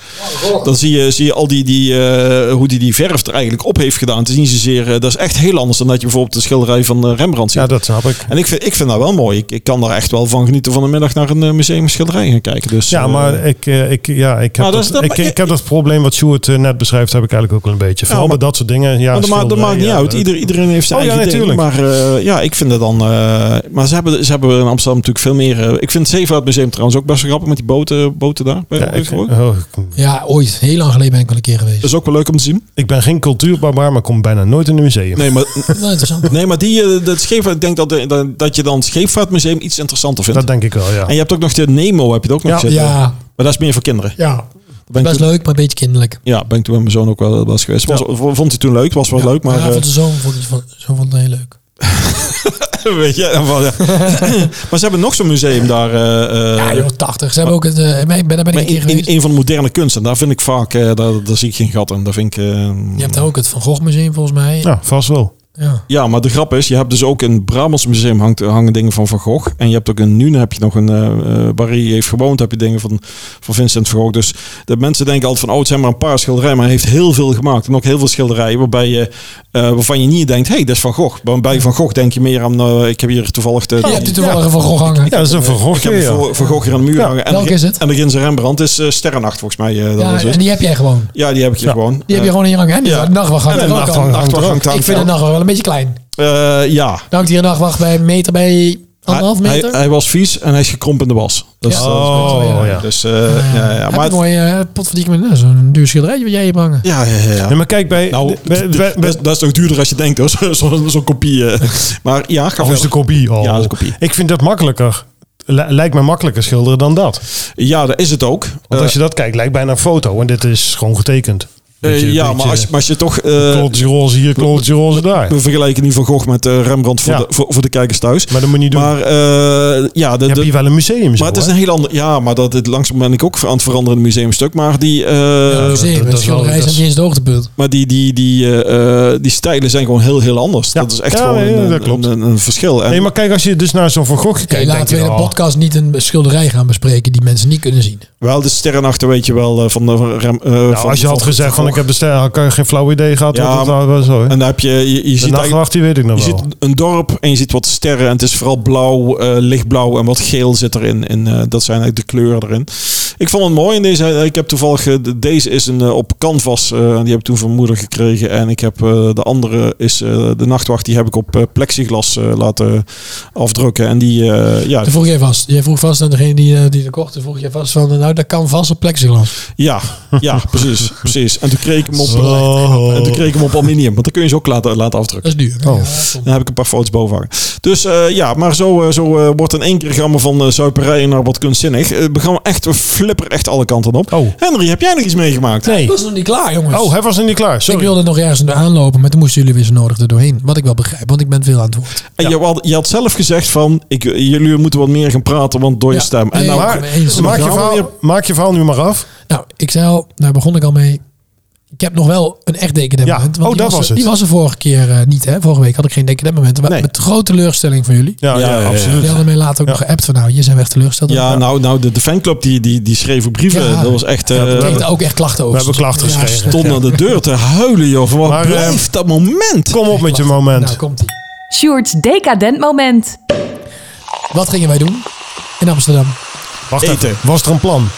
C: Dan zie je, zie je al die, die, eh, hoe die, die verf er eigenlijk op heeft gedaan. Het is niet zozeer, eh, dat is echt heel anders dan dat je bijvoorbeeld de schilderij van eh, Rembrandt ziet.
A: Ja, dat snap ik.
C: en ik vind, ik vind dat wel mooi. Ik, ik kan daar echt wel van genieten van de middag naar een eh, museum schilderij gaan kijken. Dus,
A: Ja,
C: eh,
A: maar ik, eh, ik, ja, ik, heb
C: Maar dat is-
A: dat,
C: dat-
A: ik, ik heb dat probleem wat Sjoerd eh, net beschrijft, heb ik eigenlijk ook wel een beetje. Vooral
C: maar-
A: bij dat soort dingen. Ja,
C: Maar dat, maakt, dat maakt niet
A: schilderijen,
C: uit.
A: ja,
C: Ieder, iedereen heeft zijn
A: Oh ja,
C: eigen ding.
A: natuurlijk.
C: Maar eh, ja, ik vind het dan... eh, maar ze hebben, ze hebben in Amsterdam natuurlijk veel meer... eh, ik vind het Zeevaart Museum trouwens ook best wel grappig met die boten, boten daar. Bij
A: Ja, ik,
C: Oosterhoek.
A: oh, ik-
B: Ja, ooit. Heel lang geleden ben ik wel een keer geweest.
C: dat is ook wel leuk om te zien.
A: ik ben geen cultuurbarbaar, maar kom bijna nooit in een museum.
C: Nee, maar,
B: Wel interessant.
C: nee, maar die, eh, dat scheepvaart, ik denk dat, eh, dat, dat je dan het scheepvaartmuseum iets interessanter vindt.
A: Dat denk ik wel, ja.
C: en je hebt ook nog de Nemo, heb je dat ook nog
A: Ja,
C: zitten.
B: Ja,
C: Maar dat is meer voor kinderen.
B: ja.
C: Dat ben ik
B: Best
C: toen-
B: leuk, maar een beetje kinderlijk.
C: Ja, ben ik toen met mijn zoon ook wel wel eens geweest. Was, Vond hij toen leuk, was wel
B: Ja.
C: leuk, maar...
B: Ja,
C: eh,
B: vond de zoon vond het, vond- zo vond het heel leuk.
C: weet je, en van, ja. maar ze hebben nog zo'n museum daar. eh, eh,
B: Ja, joh, 80. Ze hebben ook het, eh, ik ben, daar ben ik
C: Maar
B: een keer
C: in, in,
B: geweest.
C: een van de moderne kunsten, daar vind ik vaak, eh, daar, daar zie ik geen gat in. Daar vind ik, eh,
B: Je hebt daar ook het Van Gogh Museum, volgens mij.
A: Ja, vast wel.
B: Ja.
C: Ja, maar de grap is, je hebt dus ook in het Brabants museum hangt, hangen dingen van Van Gogh. En je hebt ook in Nune heb je nog een, eh eh, Barry heeft gewoond, heb je dingen van, van Vincent van Gogh. Dus de mensen denken altijd van, oh het zijn maar een paar schilderijen. Maar hij heeft heel veel gemaakt. En ook heel veel schilderijen waarbij je, eh, waarvan je niet denkt, hé, hey, dat is Van Gogh. Maar Bij Van Gogh denk je meer aan, eh, ik heb hier toevallig de...
B: Je hebt Oh, die toevallig een Van Gogh hangen.
A: Ja, Oh, dat is een
C: ik heb
A: vergochtje.
C: een Van- Van Gogh hier aan de muur
A: Ja,
C: hangen. En,
B: welk is het?
C: En de Ginse Rembrandt is eh, Sterrennacht volgens mij. eh, dat was
B: Ja,
C: het.
B: en die heb jij gewoon.
C: Ja, die heb ik hier
A: Ja.
C: gewoon. Eh,
B: Die heb je gewoon in je hangen. En die
C: ja.
B: ja. nachtwacht hangt
C: En de
B: er ook aan.
A: nachtwacht.
C: nachtwacht
A: hangt
C: hangt aan.
B: Ik vind de nachtwacht wel een beetje klein.
C: Eh, ja.
B: Dan hangt hier een nachtwacht bij een meter bij anderhalf
C: Hij-
B: meter.
C: Hij, hij was vies en hij is gekrompen in de was. Dat is,
B: Ja.
C: dat is-
A: Oh, ja.
C: Dus, eh,
B: Eh,
C: ja, ja,
B: heb
C: maar...
B: je een mooie eh, potverdikkie met nou, zo'n duur schilderijtje wat jij hebt hangen.
C: Ja, ja, ja, ja.
A: Nee, maar kijk, bij,
C: Nou,
A: bij, bij- bij-
C: dat, is- dat is toch duurder als je denkt, hoor. Zo- Zo'n zo'n kopie. eh. Maar ja, ga
A: of is de
C: verder.
A: kopie? Oh.
C: Ja, dat is een kopie.
A: Ik vind dat makkelijker. Li- Lijkt mij makkelijker schilderen dan dat.
C: Ja, dat is het ook.
A: Want als je dat kijkt, lijkt bijna een foto. En dit is gewoon getekend.
C: Eh,
A: Beetje-
C: ja,
A: beetje
C: maar als, je- maar als je toch... eh,
A: Klootje roze hier, klootje roze daar.
C: we vergelijken nu Van Gogh met eh, Rembrandt voor,
A: Ja.
C: de, voor, voor de kijkers thuis.
A: Maar dat moet je niet doen.
C: Maar eh, ja, de,
A: Je
C: de-
A: hebt hier wel een museum. Zo,
C: maar het is een heel ander... Ja, maar dat, het, langzaam ben ik ook aan het veranderen in het museumstuk. Maar die... eh,
B: Ja,
A: dat- dat
B: museum,
A: is
B: met
A: wel-
B: schilderij
A: dat
B: zijn
A: is-
B: niet eens het hoogtepunt.
C: Maar die, die, die, eh, eh, die stijlen zijn gewoon heel, heel anders.
A: Ja.
C: Dat is echt
A: Ja,
C: gewoon
A: nee,
C: een,
A: dat klopt.
C: Een, een- een verschil. En,
A: Nee, maar kijk, als je dus naar zo'n Van Gogh kijkt,
B: Oké,
A: denk
B: laten
A: je,
B: we in de
A: oh,
B: podcast niet een schilderij gaan bespreken die mensen niet kunnen zien.
C: Wel de sterrenachter weet je wel eh, van de van Rem, eh,
A: Nou,
C: van-
A: als je had
C: van-
A: gezegd van ik heb de ster, had ik geen flauw idee gehad.
C: Ja,
A: Ja, dat
C: maar-
A: nou wel zo. hè.
C: En dan heb je je, je
A: De
C: ziet eigenlijk
A: nachtwacht, die weet ik
C: je
A: nog
C: ziet
A: wel.
C: een dorp en je ziet wat sterren en het is vooral blauw, eh, lichtblauw en wat geel zit erin. En eh, dat zijn eigenlijk de kleuren erin. Ik vond het mooi. En deze, ik heb toevallig, eh, de- deze is een, eh, op canvas. eh, die heb ik toen van mijn moeder gekregen. En ik heb eh, de andere is eh, de nachtwacht. Die heb ik op eh, plexiglas eh, laten afdrukken. En die, eh, ja,
B: Dat vroeg jij vast. Jij vroeg vast aan degene die, eh, die dat kocht. Dan vroeg jij vast van, nou dat kan vast op plexiglas.
C: ja, ja, precies, precies. En toen kreeg ik hem op,
A: Zo.
C: en toen kreeg ik hem op aluminium. Want dan kun je ze ook laten, laten afdrukken.
B: Dat is duur.
A: Oh.
C: Dan heb ik een paar foto's boven hangen. Dus eh, ja, maar zo, eh, zo eh, wordt in één keer gamma van eh, zuiperij naar wat kunstzinnig. Eh, we gaan echt, we flipper echt alle kanten op.
A: Oh.
C: Henry, heb jij nog iets meegemaakt?
A: Nee.
B: Dat is nog niet klaar, jongens.
A: Oh, hij was nog niet klaar. Sorry.
B: Ik wilde nog ergens aan aanlopen, maar toen moesten jullie weer zo nodig er doorheen. Wat ik wel begrijp, want ik ben veel aan het woord.
C: En je, had, je had zelf gezegd van, ik, jullie moeten wat meer gaan praten, want door je
B: Ja.
C: stem. En
B: Nee,
C: nou,
A: maar,
B: Ik ben eens.
A: maak, je
C: Nou,
A: verhaal,
C: weer-
A: maak je verhaal nu maar af.
B: Nou, ik zei al, daar begon ik al mee. Ik heb nog wel een echt
A: Ja.
B: decadent-moment. want
A: Oh,
B: die
A: dat
B: er-
A: was het.
B: Die was er vorige keer eh, niet, hè? Vorige week had ik geen decadent-moment. Maar
C: Nee.
B: Met grote teleurstelling van jullie.
A: Ja,
C: Ja,
A: ja,
C: ja, ja.
A: absoluut.
B: Jullie hadden mij later ook
A: Ja.
B: nog geappt van, nou, je zijn we echt teleurgesteld.
C: ja,
B: Nou,
C: nou, nou de, de fanclub die, die, die schreven brieven.
B: Ja.
C: dat was echt... eh,
A: Ja,
B: ik
A: we
B: kreeg
A: hebben-
B: daar ook echt klachten over.
A: we hebben klachten
B: Ja,
A: gekregen.
B: slecht,
C: stond aan de deur te huilen, joh. Van wat
A: Maar, eh,
C: blijft dat moment?
A: Kom op met je
B: ja.
A: moment.
B: Nou, komt ie.
D: Sjoerd's decadent moment.
B: Wat gingen wij doen in Amsterdam?
A: Wacht
C: Eten.
A: even. Was er een plan?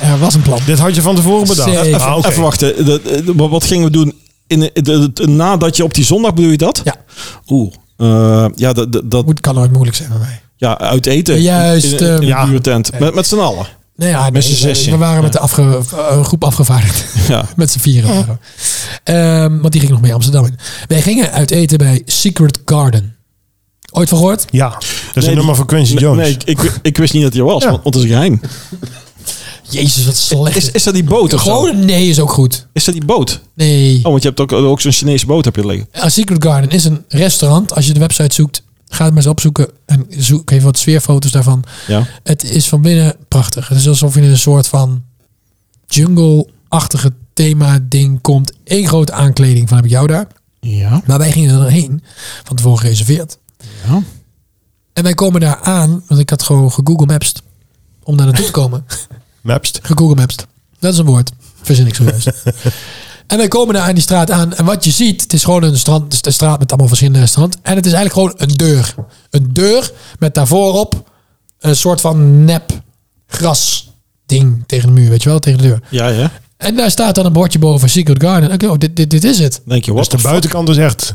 B: Er was een plan.
A: Dit had je van tevoren bedacht.
B: Zeker.
A: Ah,
C: Even,
A: oké.
C: even wachten. De- de- de- wat gingen we doen? In, de- de- de- nadat je op die zondag bedoel je dat?
B: Ja,
C: Oeh. eh, ja, dat, dat- dat,
B: moet, kan nooit moeilijk zijn bij mij.
C: ja, uit eten.
B: Juist,
C: In, in, in een
A: eh,
C: dure tent. Met, met z'n allen.
B: Nee, ja,
C: Met z'n
B: nee, we-
C: zessen.
B: we waren met de afge, eh, groep afgevaardigd.
C: Ja.
B: Met z'n vieren. waren we. Ehm, want die ging nog mee Amsterdam in. Wij gingen uit eten bij Secret Garden. Ooit van gehoord?
A: Ja, dat is
C: Nee,
A: een nummer van Quincy
C: Nee,
A: Jones.
C: nee, ik, ik, ik wist niet dat hij er was,
A: Ja.
C: want, want het is geheim.
B: Jezus, wat slecht.
C: Is, is dat die boot of zo?
B: Gewoon een nee is ook goed.
C: Is dat die boot?
B: Nee.
C: Oh, want je hebt ook, ook zo'n Chinese boot heb je liggen.
B: A Secret Garden is een restaurant. Als je de website zoekt, ga het maar eens opzoeken. En zoek even wat sfeerfoto's daarvan.
C: Ja.
B: Het is van binnen prachtig. Het is alsof je in een soort van jungle-achtige thema-ding komt. Eén grote aankleding van heb ik jou daar.
C: Ja.
B: Maar wij gingen erheen, van tevoren gereserveerd.
C: Ja.
B: En wij komen daar aan, want ik had gewoon gegoogle maps om daar naartoe te komen.
A: Mapst.
B: gegoogle maps. Dat is een woord. Verzin ik zojuist. en wij komen daar aan die straat aan. En wat je ziet, het is gewoon een strand, het is een straat met allemaal verschillende restaurants. En het is eigenlijk gewoon een deur. Een deur met daarvoorop een soort van nep gras ding tegen de muur, weet je wel, tegen de deur.
C: Ja, ja.
B: En daar staat dan een bordje boven Secret Garden. Oké, oh, dit, dit, dit is het.
C: Denk je,
A: Dus
C: wat?
A: de buitenkant is echt...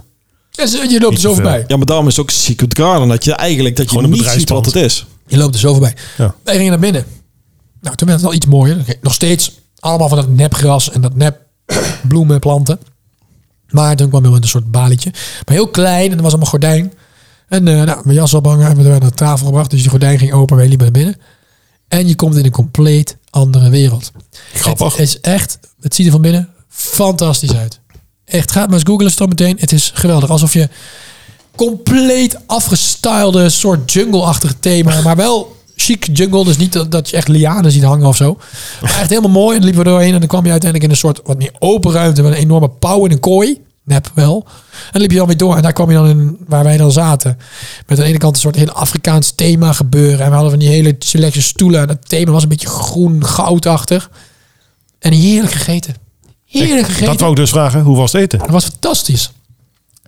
B: En ze- je loopt er
A: Niet te
B: zo
A: veel.
B: voorbij.
C: Ja, maar daarom is het ook Secret Garden. Dat je eigenlijk dat je
A: Gewoon een
C: niet ziet wat
A: bedrijfspand.
C: het is.
B: Je loopt er zo voorbij.
A: Ja.
B: Wij gingen naar binnen. Nou, toen werd het al iets mooier. Oké, Nog steeds allemaal van dat nepgras en dat nep bloemen, planten. Maar toen kwam je met een soort balietje. Maar heel klein en er was allemaal gordijn. En eh nou, mijn jas ophangen hebben we er aan de tafel gebracht. Dus die gordijn ging open en wij liepen naar binnen. En je komt in een compleet andere wereld.
A: Grappig.
B: Het is echt, het ziet er van binnen fantastisch uit. Echt, ga het maar eens googlen zo meteen. Het is geweldig. Alsof je compleet afgestylede soort jungle-achtig thema. Maar wel chic jungle. Dus niet dat, dat je echt lianen ziet hangen of zo. Maar echt helemaal mooi. En dan liepen we doorheen. En dan kwam je uiteindelijk in een soort wat meer open ruimte. Met een enorme pauw in een kooi. Nep wel. En dan liep je dan weer door. En daar kwam je dan in waar wij dan zaten. Met aan de ene kant een soort hele Afrikaans thema gebeuren. En we hadden van die hele selectie stoelen. En dat thema was een beetje groen, goudachtig. En heerlijk gegeten. Heerlijk gegeten.
A: Dat wou ik dus vragen. Hoe was het eten?
B: Dat was fantastisch.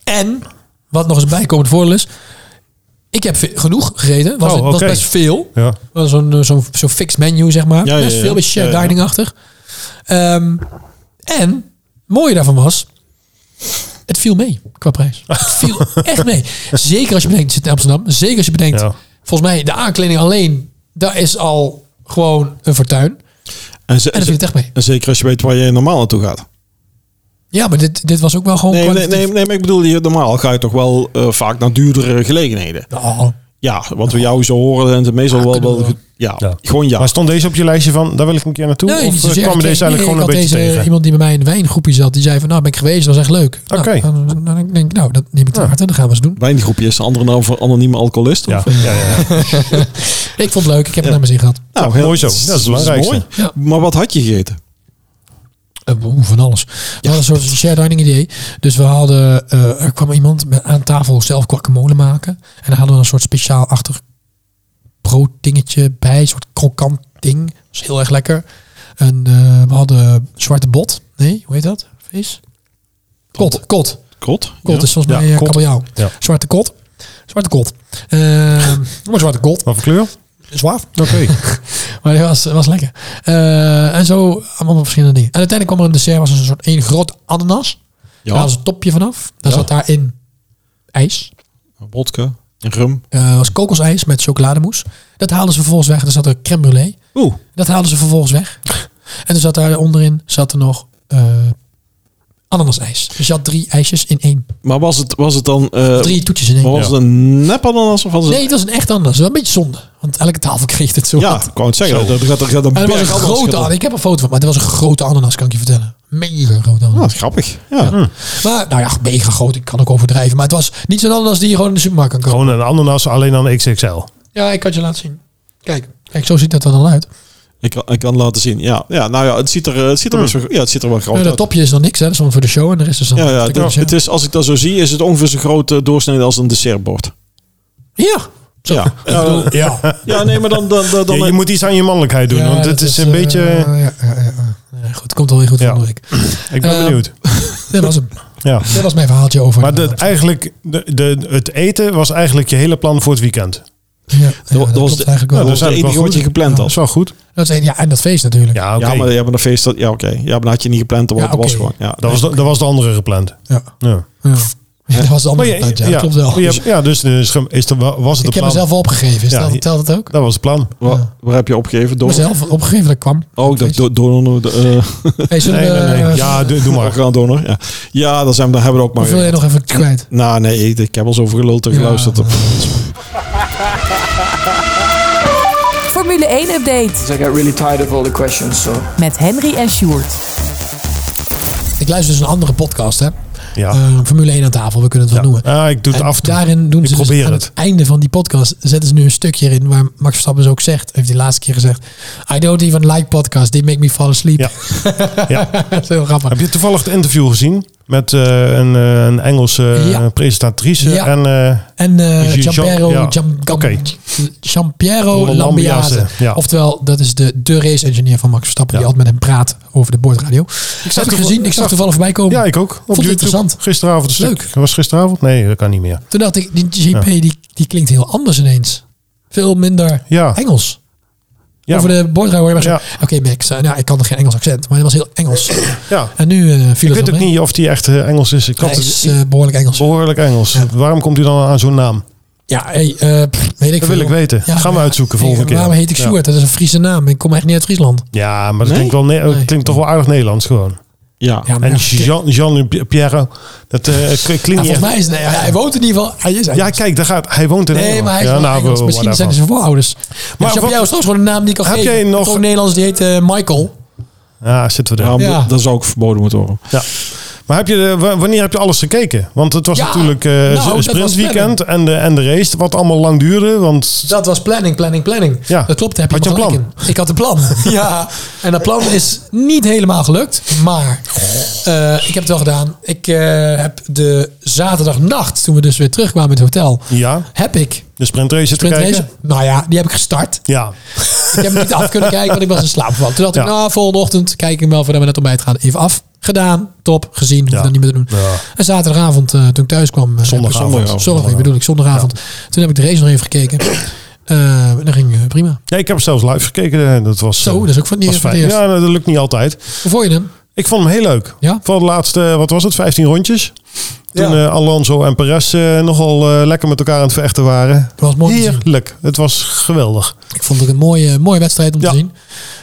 B: En, wat nog eens bijkomend voordeel is... Ik heb ve- genoeg gereden. Was,
A: Oh,
B: het was
A: oké.
B: best veel.
A: Ja.
B: Dat was Zo'n eh, zo'n zo'n fixed menu, zeg maar.
C: Ja, ja,
B: best
C: ja.
B: veel, beetje
C: Ja,
B: share
C: ja.
B: dining-achtig. Ehm, en, het mooie daarvan was... Het viel mee qua prijs. Het viel echt mee. Zeker als je bedenkt, het zit in Amsterdam. Zeker als je bedenkt,
A: Ja.
B: volgens mij de aankleding alleen... Daar is al gewoon een fortuin.
C: En, ze-
B: En dat viel het echt mee.
C: en zeker als je weet waar je normaal naartoe gaat.
B: Ja, maar dit, dit was ook wel gewoon...
C: Nee, nee,
B: kwalitatief.
C: nee, nee, maar ik bedoel, je- normaal ga je toch wel eh, vaak naar duurdere gelegenheden.
B: Nou,
C: Ja, wat we jou zo horen en het meestal wel... wel
B: kunnen we
C: ja,
A: Ja.
C: gewoon ja.
A: Maar stond deze op je lijstje van, daar wil ik een keer naartoe?
B: Nee,
A: of
B: niet zozeer.
A: eh, kwam
B: Ik-
A: je deze
B: nee,
A: eigenlijk
B: ik
A: gewoon een
B: had
A: beetje
B: deze,
A: tegen?
B: Iemand die bij mij in een wijngroepje zat, die zei van, nou ben ik geweest, dat was echt leuk. Nou,
A: Oké.
B: dan, dan, dan denk ik, nou, dat neem ik te hard en dan gaan we eens doen.
C: Wijngroepje is de andere naam voor anonieme alcoholist.
A: Ja,
C: of-
A: ja, ja, ja.
B: Ik vond het leuk, ik heb het naar mijn zin gehad.
C: Nou,
A: mooi zo. Ja, dat is het belangrijkste.
C: mooi.
B: Ja.
C: Maar wat had je gegeten?
B: Eh, oeh, van alles. We hadden een soort shared dining idee. Dus we hadden, eh, er kwam iemand met, aan tafel zelf guacamole maken. En dan hadden we een soort speciaal achter brooddingetje bij, een soort krokant ding. Dat was heel erg lekker. En eh, we hadden zwarte bot. Nee, hoe heet dat? Vis? Kot, kot.
C: Kot?
B: Kot
C: Ja.
B: is volgens
A: Ja,
B: mij eh,
A: kot.
B: kabeljauw.
A: Ja.
B: Zwarte kot. Zwarte kot. Eh, maar zwarte kot.
A: Wat voor kleur?
B: Zwaaf.
A: Oké.
B: Maar die was, was lekker. Eh, en zo allemaal verschillende dingen. En uiteindelijk kwam er een dessert, was een soort één groot ananas.
C: Ja.
B: Daar was een topje vanaf. Daar
C: Ja.
B: zat daarin ijs.
C: Wodka en rum.
B: Eh was kokosijs met chocolademousse. Dat haalden ze vervolgens weg. En er zat er crème brûlée.
C: Oeh.
B: Dat haalden ze vervolgens weg. En er zat daar onderin zat er nog eh ananasijs. Dus je had drie ijsjes in één.
C: Maar was het, was het dan... eh,
B: Drie toetjes in één.
C: maar was
A: Ja.
C: het een nep ananas of was het...
B: Nee, het was een echt ananas. Wel een beetje zonde. Want elke tafel kreeg het zo.
C: ja, ik wou het zeggen. Er gaat, er gaat een
B: En het was
C: berg
B: een
C: ananas
B: grote
C: gedaan.
B: ananas. Ik heb een foto van, maar het was een grote ananas, kan ik je vertellen. Mega grote
C: Ah,
B: ananas.
C: dat is grappig. Ja.
B: Maar, nou ja, mega groot. Ik kan ook overdrijven. Maar het was niet zo'n ananas die je gewoon in de supermarkt kan kopen.
A: Gewoon een ananas, alleen dan XXL.
B: Ja, ik kan het je laten zien. Kijk, kijk, zo ziet dat er dan uit.
C: Ik, kan, ik kan laten zien. Ja, ja nou ja, het ziet er, het ziet er, best wel, ja, het ziet er wel groot
B: Nou, dat
C: uit.
B: topje is dan niks, hè. Dat is dan voor de show en de rest is dan...
C: Ja, ja,
B: de
C: het,
B: kunstje.
C: het is, als ik dat zo zie, is het ongeveer zo groot eh, doorsnede als een dessertbord.
B: ja. Zo.
C: Ja.
B: Ik bedoel, ja.
C: Ja, nee, maar dan... dan, dan, dan
A: Je, je moet iets aan je mannelijkheid doen,
B: Ja,
A: want
B: dat
A: het is een
B: eh,
A: beetje...
B: ja, ja, ja, ja. Ja, Goed, het komt wel weer goed
A: Ja.
B: van Ulrik.
A: ik ben
B: eh,
A: benieuwd.
B: Dit was hem.
A: Ja.
B: Dit was mijn verhaaltje over.
A: Maar de, eigenlijk, de, de, het eten was eigenlijk je hele plan voor het weekend.
B: ja, ja,
C: dat
B: dat
C: was
B: klopt
C: de- dus-
B: eigenlijk wel.
A: nou,
C: dat
A: dat
C: is het
A: is eigenlijk
C: enige
A: wel
C: wat je
A: goed.
C: gepland
A: Dat
C: had.
A: is wel goed.
B: dat is één, ja, en dat feest natuurlijk.
A: Ja, oké.
C: Ja, maar je hebt een feest... Dat, ja, oké. Ja, maar dan had je niet gepland. Dat,
B: Ja,
C: dat was
B: oké.
C: gewoon... Ja.
A: dat, was de, dat was de andere gepland.
B: Ja.
A: Ja.
B: Ja. Dat was de
A: Maar
B: andere
A: je-
B: tijd, ja.
A: ja,
B: Klopt wel.
A: maar je hebt- ja, dus dus ge- is er, wa- was het
B: ik
A: de
B: heb
A: plan.
B: mezelf wel opgegeven. Is
A: Ja,
B: dat,
A: je-
B: telt dat ook?
A: Dat was het plan.
C: Wa- Waar, heb je opgegeven? Door?
B: Mezelf opgegeven dat ik kwam.
C: Oh, ik dacht do- donor... eh,
B: Hey, zullen
A: Nee,
B: we,
A: nee, nee.
B: eh,
A: Ja, doe, doe maar.
C: Orgaan donor, ja. Ja, dan, zijn we, dan hebben we er ook maar
B: Of wil
C: weer.
B: jij nog even kwijt?
C: Nou, nee, ik, ik heb al zoveel geluld en geluisterd.
B: Ja.
C: op.
D: Formule 1 update
E: 'Cause I got really tired of all the questions, so.
D: met Henry en Sjoerd.
B: Ik luister dus een andere podcast, hè.
A: Ja.
B: Eh, Formule 1 aan tafel, we kunnen het wel noemen.
A: Ah, ik doe het
B: Eh, En
A: af en toe.
B: daarin doen
A: ik
B: ze dus
A: probeer
B: aan
A: het.
B: het einde van die podcast zetten ze nu een stukje in waar Max Verstappen dus ook zegt, heeft hij de laatste keer gezegd, I don't even like podcasts, they make me fall asleep.
A: Ja. Ja.
B: dat is heel grappig.
A: Heb je toevallig het interview gezien met eh, een, eh, een Engelse eh,
B: Ja.
A: presentatrice?
B: Ja.
A: En, eh,
B: En eh
A: Jean-
B: Giampiero,
A: ja.
B: Giam, Gam-
A: Oké.
B: Giampiero
A: Lambiase,
B: Lambiase.
A: ja.
B: Oftewel, dat is de, de race-engineer van Max Verstappen.
A: Ja.
B: Die altijd met hem praat over de boordradio. Ik zag
A: toeval-
B: het gezien,
A: ik
B: ik zag
A: zag-
B: toevallig voorbij komen.
A: ja, ik ook. Op
B: het
A: YouTube.
B: interessant.
A: Gisteravond een stuk.
B: Leuk.
A: Was gisteravond? Nee, dat kan niet meer.
B: Toen dacht ik, die GP die, die klinkt heel anders ineens. Veel minder
A: Ja.
B: Engels.
A: Ja,
B: over de boordradio. hoor je maar zo,
A: Ja.
B: Oké, Max, eh, nou, ik kan nog geen Engels accent, maar dat was heel Engels.
A: Ja.
B: En nu eh viel
A: Ik
B: het
A: weet
B: wel
A: ook
B: mee.
A: niet of die echt eh, Engels is. Ik had
B: Hij
A: het-
B: is eh, behoorlijk Engels.
A: behoorlijk Engels. Waarom komt u dan aan zo'n naam?
B: Ja, hey, eh, pff, weet ik
A: Dat
B: veel.
A: wil ik weten. Gaan we
B: maar-
A: uitzoeken volgende keer.
B: Waarom heet ik
A: Ja.
B: Stuart? Dat is een Friese naam. Ik kom echt niet uit Friesland.
A: Ja, maar dat
C: Nee?
A: klinkt, wel, ne-
B: Nee.
A: klinkt toch wel aardig Nederlands gewoon.
C: Ja.
B: Ja, maar
A: En
B: ja,
A: Jean, Jean Pierre, dat eh, k- klinkt
B: Ja,
A: niet
B: volgens
A: echt-
B: mij is nee, hij woont in ieder geval. Hij is
A: Ja,
B: Engels.
A: kijk, daar gaat, hij woont in
B: nee,
A: Engeland.
B: maar hij is
A: ja,
B: wel
A: nou,
B: Engels.
A: we-
B: Misschien
A: whatever.
B: zijn ze voorouders. Maar
A: Maar
B: Jean
A: wat-
B: Pierre is trouwens gewoon een naam die ik al
A: Heb
B: geven.
A: jij nog-
B: Ook een Nederlands die heet eh, Michael.
A: Ja, zitten we er.
C: Ja, maar
B: Ja.
C: Dat zou ook verboden moeten worden.
A: Ja. Maar heb je de, wa- wanneer heb je alles gekeken? Want het was
B: Ja,
A: natuurlijk eh,
B: nou,
A: z-
B: dat was
A: sprintweekend en de, en de race, wat allemaal lang duurde. Want
B: Dat was planning, planning, planning.
A: Ja.
B: Dat klopt, daar heb
A: Had
B: je
A: je
B: me
A: een
B: gelijk in. Ik had een plan. ja. En dat plan is niet helemaal gelukt. Maar eh, ik heb het wel gedaan. Ik eh, heb de zaterdagnacht, toen we dus weer terugkwamen in het hotel,
A: ja,
B: heb ik
A: de sprintrace te
B: sprintrace.
A: kijken.
B: Nou ja, die heb ik gestart.
A: Ja,
B: Ik heb hem niet af kunnen kijken, want ik was in slaap gevallen. Toen dacht ik,
A: Ja.
B: nou, volgende ochtend kijk ik hem wel voordat we net ontbijt gaan. Even af. Gedaan. Top. Gezien. Hoef ik
A: Ja.
B: dat niet meer te doen.
A: Ja.
B: En zaterdagavond, eh, toen ik thuis kwam. eh,
A: Zondagavond.
B: heb ik- Sorry,
A: Zondagavond.
B: bedoel ik. Zondagavond. Toen heb ik de race nog even gekeken. Eh dat ging eh, prima.
A: ja, ik heb zelfs live gekeken. eh, Dat was,
B: Zo,
A: eh,
B: dat is ook voor het
A: was
B: eerst- voor het
A: fijn.
B: eerst.
A: Ja, nou, dat lukt niet altijd.
B: Hoe vond je hem?
A: Ik vond hem heel leuk.
B: Ja?
A: Voor de laatste, eh, wat was het, 15 rondjes? Toen eh, Alonso en Perez eh, nogal eh, lekker met elkaar aan het vechten waren.
B: Het was mooi te zien.
A: Heerlijk. Het was geweldig.
B: Ik vond het een mooie, mooie wedstrijd om
A: Ja.
B: te zien.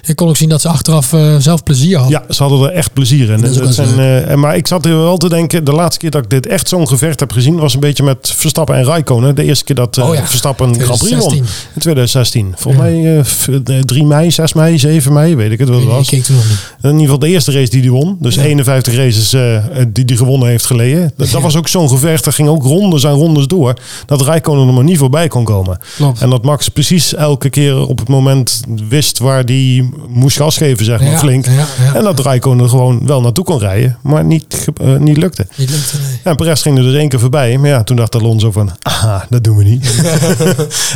B: Je kon ook zien dat ze achteraf eh, zelf plezier hadden.
A: Ja, ze hadden er echt plezier in.
B: Dat is ook
A: Het
B: wel
A: zijn, eh, maar ik zat er wel te denken, de laatste keer dat ik dit echt zo'n gevecht heb gezien, was een beetje met Verstappen en Raikkonen. De eerste keer dat eh,
B: Oh ja,
A: Verstappen een Grand Prix won.
B: 2016.
A: In 2016. Volgens
B: Ja.
A: mij eh, v- eh, 3 mei, 6 mei, 7 mei, weet ik het wel.
B: Ik,
A: het
B: ik
A: was.
B: keek toen nog niet.
A: In ieder geval de eerste race die hij won. Dus
B: Ja.
A: 51 races eh, die hij gewonnen heeft geleden. Dat, dat
B: Ja.
A: was ook zo'n gevecht. Er ging ook rondes aan rondes door. Dat Rijkonen er maar niet voorbij kon komen.
B: Klopt.
A: En dat Max precies elke keer op het moment wist waar hij moest gas geven, zeg maar,
B: Ja,
A: flink.
B: ja, ja.
A: En dat Rijkonen er gewoon wel naartoe kon rijden. Maar niet, ge- eh, niet lukte.
B: Niet lukt, nee.
A: Ja, en Perez ging er dus één keer voorbij. Maar ja, toen dacht Alonso van, aha, dat doen we niet.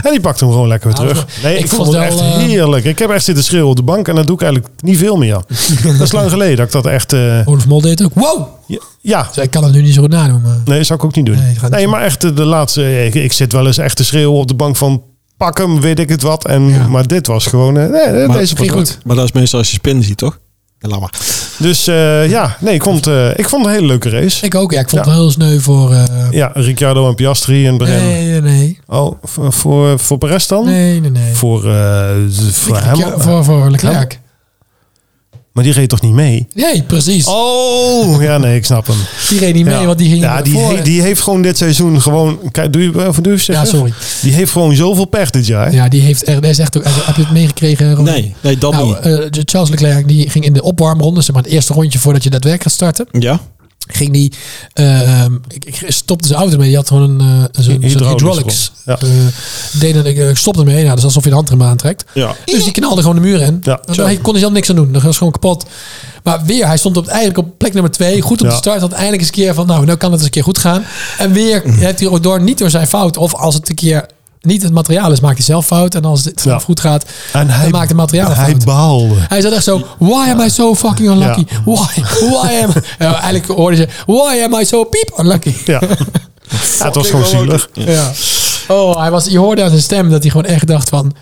A: en die pakte hem gewoon lekker weer
B: Ja,
A: terug.
B: maar
A: Nee,
B: ik
A: ik,
B: vond
A: vond het
B: wel,
A: echt
B: eh,
A: heerlijk. Ik heb echt zitten schreeuwen op de bank. En dat doe ik eigenlijk niet veel meer. dat is lang geleden dat ik dat echt... eh,
B: Olaf Mol deed het ook. Wow!
A: ja,
B: Dus ik kan het nu niet zo goed nadoen. Maar...
A: nee, zou ik ook niet doen.
B: Nee,
A: Nee,
B: dat gaat niet
A: eh, maar echt eh, de laatste... Ik, ik zit wel eens echt te schreeuwen op de bank van... pak hem, weet ik het wat. En,
B: Ja.
A: Maar dit was gewoon, eh, nee, nee,
C: Maar-
A: deze was
B: ging
A: goed.
B: goed.
C: Maar dat is meestal als je spin ziet, toch? Ja, laat maar.
A: Dus eh, ja, nee, ik vond, eh, ik vond het een hele leuke race.
B: Ik ook, ja. Ik vond
A: Ja.
B: het wel heel sneu voor... eh,
A: Ja, Ricciardo en Piastri en Bren.
B: nee, nee, nee.
A: Oh, voor, voor, voor Perez dan?
B: Nee, nee, nee.
A: Voor, eh, z- voor
B: Ik-
A: hem?
B: ja, voor, voor Leclerc.
A: Maar die reed toch niet mee?
B: Nee, precies.
A: Oh, ja, nee, ik snap hem.
B: Die reed niet mee,
A: ja.
B: want die ging
A: ja,
B: naar
A: die,
B: voren.
A: he- die heeft gewoon dit seizoen gewoon... Kijk, doe je, eh, doe je
B: ja,
A: zeggen?
B: sorry.
A: Die heeft gewoon zoveel pech dit jaar.
B: Ja, die heeft echt, dat is echt ook, heb je het meegekregen? Ron?
C: Nee, nee, dat
B: Nou,
C: niet.
B: eh, Charles Leclerc die ging in de opwarmronde, zeg maar het eerste rondje voordat je daadwerkelijk gaat starten,
C: Ja?
B: ging die, eh, ehm, ik, ik stopte zijn auto mee. Die had gewoon een eh, zo'n- zo'n
A: Hydraulisch
B: hydraulics.
A: erop, ja.
B: Eh, deed een, ik, ik stopte ermee, nou, dat is alsof je de handrem aantrekt.
C: Ja.
B: Dus die knalde gewoon de muur in.
A: Ja.
B: maar hij kon er zelf niks aan doen. Dat was gewoon kapot. Maar weer, hij stond op, eigenlijk op plek nummer twee. Goed op
A: Ja.
B: de start. Had eindelijk eens een keer van, nou, nou kan het eens een keer goed gaan. En weer
A: Mhm.
B: heeft hij ook door, niet door zijn fout. Of als het een keer niet het materiaal is, maakt hij zelf fout. En als het zelf goed gaat,
A: En hij,
B: dan maakt het materiaal
A: Hij
B: fout.
A: baalde.
B: Hij zat echt zo, why am I so fucking unlucky?
A: Ja.
B: Why, why am I... Ja, eigenlijk hoorde ze, why am I so piep unlucky?
A: Ja. Ja, het was gewoon zielig.
B: Ja. Oh, hij was, je hoorde aan zijn stem dat hij gewoon echt dacht van,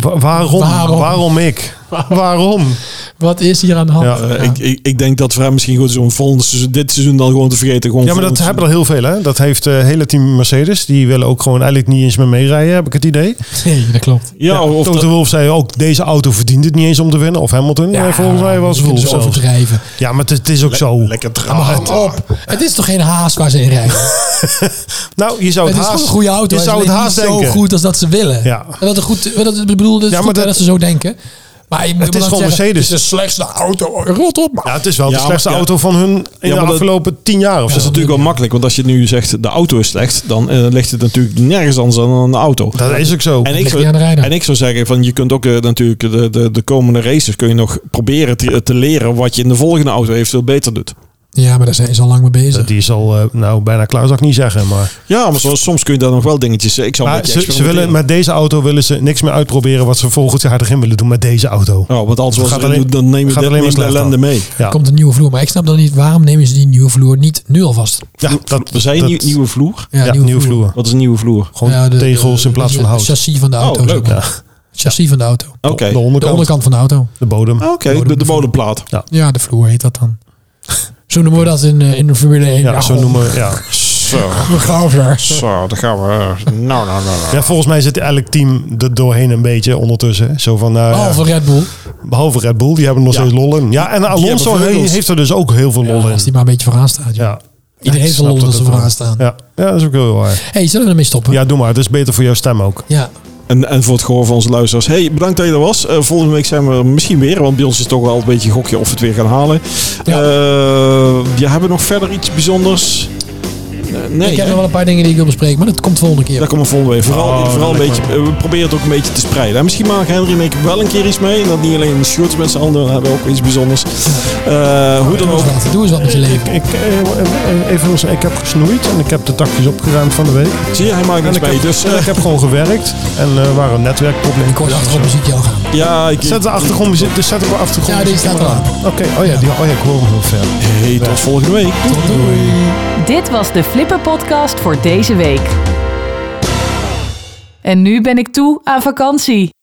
A: Wa- waarom?
B: Waarom?
A: Waarom? ik? waarom?
B: wat is hier aan de hand?
A: Ja,
C: Eh,
B: Ja.
C: Ik, ik, ik denk dat voor hem misschien goed is om volgend seizoen, dit seizoen dan gewoon te vergeten. Gewoon
A: Ja, maar dat
C: volgend
A: hebben er heel veel, hè? Dat heeft het hele team Mercedes. Die willen ook gewoon eigenlijk niet eens meer meerijden, heb ik het idee.
B: Nee, dat klopt.
C: seizoen. Ja, of
A: Toto
C: dat,
A: Wolff zei ook, deze auto verdient het niet eens om te winnen. Of Hamilton, eh, volgens mij was
B: je kunt
A: Wolff
B: ze
A: zelfs.
B: overdrijven.
A: Ja, maar het, het is ook zo.
C: lekker
B: Maar
C: traag.
B: het op. Het is toch geen haas waar ze in rijden?
A: Nou, je zou
B: Het
A: het, haast...
B: is gewoon een goede auto.
A: Je
B: Hij
A: zou
B: is
A: het
B: alleen
A: haast
B: niet
A: denken.
B: zo goed als dat ze willen.
A: Ja.
B: En Dat het goed, dat het, ik bedoel, dat is
A: Ja,
B: goed
A: maar
B: dat,
A: dat-
B: ze zo denken. Maar je moet
A: Het is
B: wel
A: gewoon
B: zeggen,
A: Mercedes.
B: Het is de slechtste auto. Rot op, man.
A: Ja, het is wel
C: Dus- Ja,
A: de
C: maar-
A: slechtste
C: ja.
A: auto van hun in
C: maar
A: de
C: dat-
A: afgelopen tien jaar of
C: Dat
A: zo.
C: is natuurlijk wel makkelijk, want als je nu zegt de auto is slecht, dan eh, ligt het natuurlijk nergens anders dan aan de auto.
A: Dat is ook zo.
C: En ik,
B: Ligt
C: zou,
B: niet aan de rijder.
C: en ik zou zeggen, van, je kunt ook eh, natuurlijk de, de, de komende races kun je nog proberen te, te leren wat je in de volgende auto eventueel beter doet.
B: Ja, maar daar zijn ze al lang mee bezig.
A: Die is al, eh, nou, bijna klaar zou ik niet zeggen, maar...
C: Ja, maar soms, soms kun je daar nog wel dingetjes. eh, Ik zou een
A: Maar
C: beetje
A: ze, ze willen,
C: experimenteren.
A: met deze auto willen ze niks meer uitproberen wat ze volgend jaar erin willen doen met deze auto.
C: Ja, want
A: Het
C: anders was
A: gaat
C: het-
A: alleen-
C: dan neem je
A: gaat
C: dit-
A: alleen maar
C: neem de
A: slecht
C: ellende
A: af.
C: mee.
A: Ja,
B: komt een nieuwe vloer. Maar ik snap dan niet, waarom nemen ze die nieuwe vloer niet nu alvast?
A: ja dat,
C: We zijn
A: dat-
C: nieuw- nieuwe vloer.
A: ja, nieuwe, vloer.
C: Wat is een nieuwe vloer?
A: Gewoon
B: Ja, de-
A: tegels
B: de-
A: in plaats
B: de-
A: van hout.
B: Het chassis van de
C: Oh,
B: auto. zeg
C: leuk.
B: maar.
A: Ja.
B: Het Chassis van de auto.
C: Oké.
A: De
B: De
A: onderkant, de,
B: onderkant van de auto.
A: bodem.
C: Oké, de, de bodemplaat.
B: Ja, de vloer heet dat dan. Zo noemen we dat in, eh, in de Formule 1.
A: Ja, zo noemen we... Ja.
C: Zo,
B: we gaan daar.
C: zo, daar gaan we. Nou, nou, nou. nou.
A: ja, volgens mij zit eigenlijk team er doorheen een beetje ondertussen. hè. Zo van, nou, ja,
B: Behalve Red Bull.
A: behalve Red Bull, die hebben nog
C: Ja.
A: steeds lol in. Ja, en Alonso
C: hebben vleugels.
A: heeft er dus ook heel veel lol in.
B: Als die maar een beetje vooraan staat. joh.
A: Ja.
B: Iedereen
A: Ik
B: zal
A: snap
B: lol dat
A: het
B: ze
A: wel.
B: vooraan staan.
A: Ja. ja, dat is ook heel waar.
B: hey, zullen we ermee stoppen?
A: Ja, doe maar. Het is beter voor jouw stem ook.
B: Ja.
C: En, en voor het gehoor van onze luisteraars. Hey, bedankt dat je er was. Eh, volgende week zijn we er misschien weer. Want bij ons is het toch wel een beetje gokje of we het weer gaan halen.
B: Ja.
C: Ja. ja, hebben we nog verder iets bijzonders? Eh, nee.
B: ik heb
C: hè?
B: nog wel een paar dingen die ik wil bespreken, maar dat komt volgende keer.
C: Dat komt volgende week. Vooral,
A: Oh,
C: vooral een
A: lekker.
C: beetje, eh, we proberen het ook een beetje te spreiden. En misschien maken Henry en ik wel een keer iets mee. En dat niet alleen de shorts met z'n handen. Dan hebben we ook iets bijzonders. Eh, hoe dan
B: Doe
C: ook.
B: eens wat, doe eens wat met je
A: Ik,
B: leven.
A: ik, eh, even los, ik heb gesnoeid en ik heb de takjes opgeruimd van de week.
C: Zie je, hij maakt
A: En
C: niks
A: ik
C: mee.
A: heb,
C: Dus
A: en
C: eh,
A: ik heb gewoon gewerkt en eh, er waren netwerkproblemen.
B: Ik hoor de achtergrondmuziekje al gaan.
C: ja, ik...
A: Zet de achtergrondmuziek, dus zet op de achtergrond.
B: Ja, die staat al aan.
A: Oké, oh ja, die, oh ja, ik hoor hem heel ver.
C: Hey, tot volgende week.
D: Dit was de Flipper Podcast voor deze week. En nu ben ik toe aan vakantie.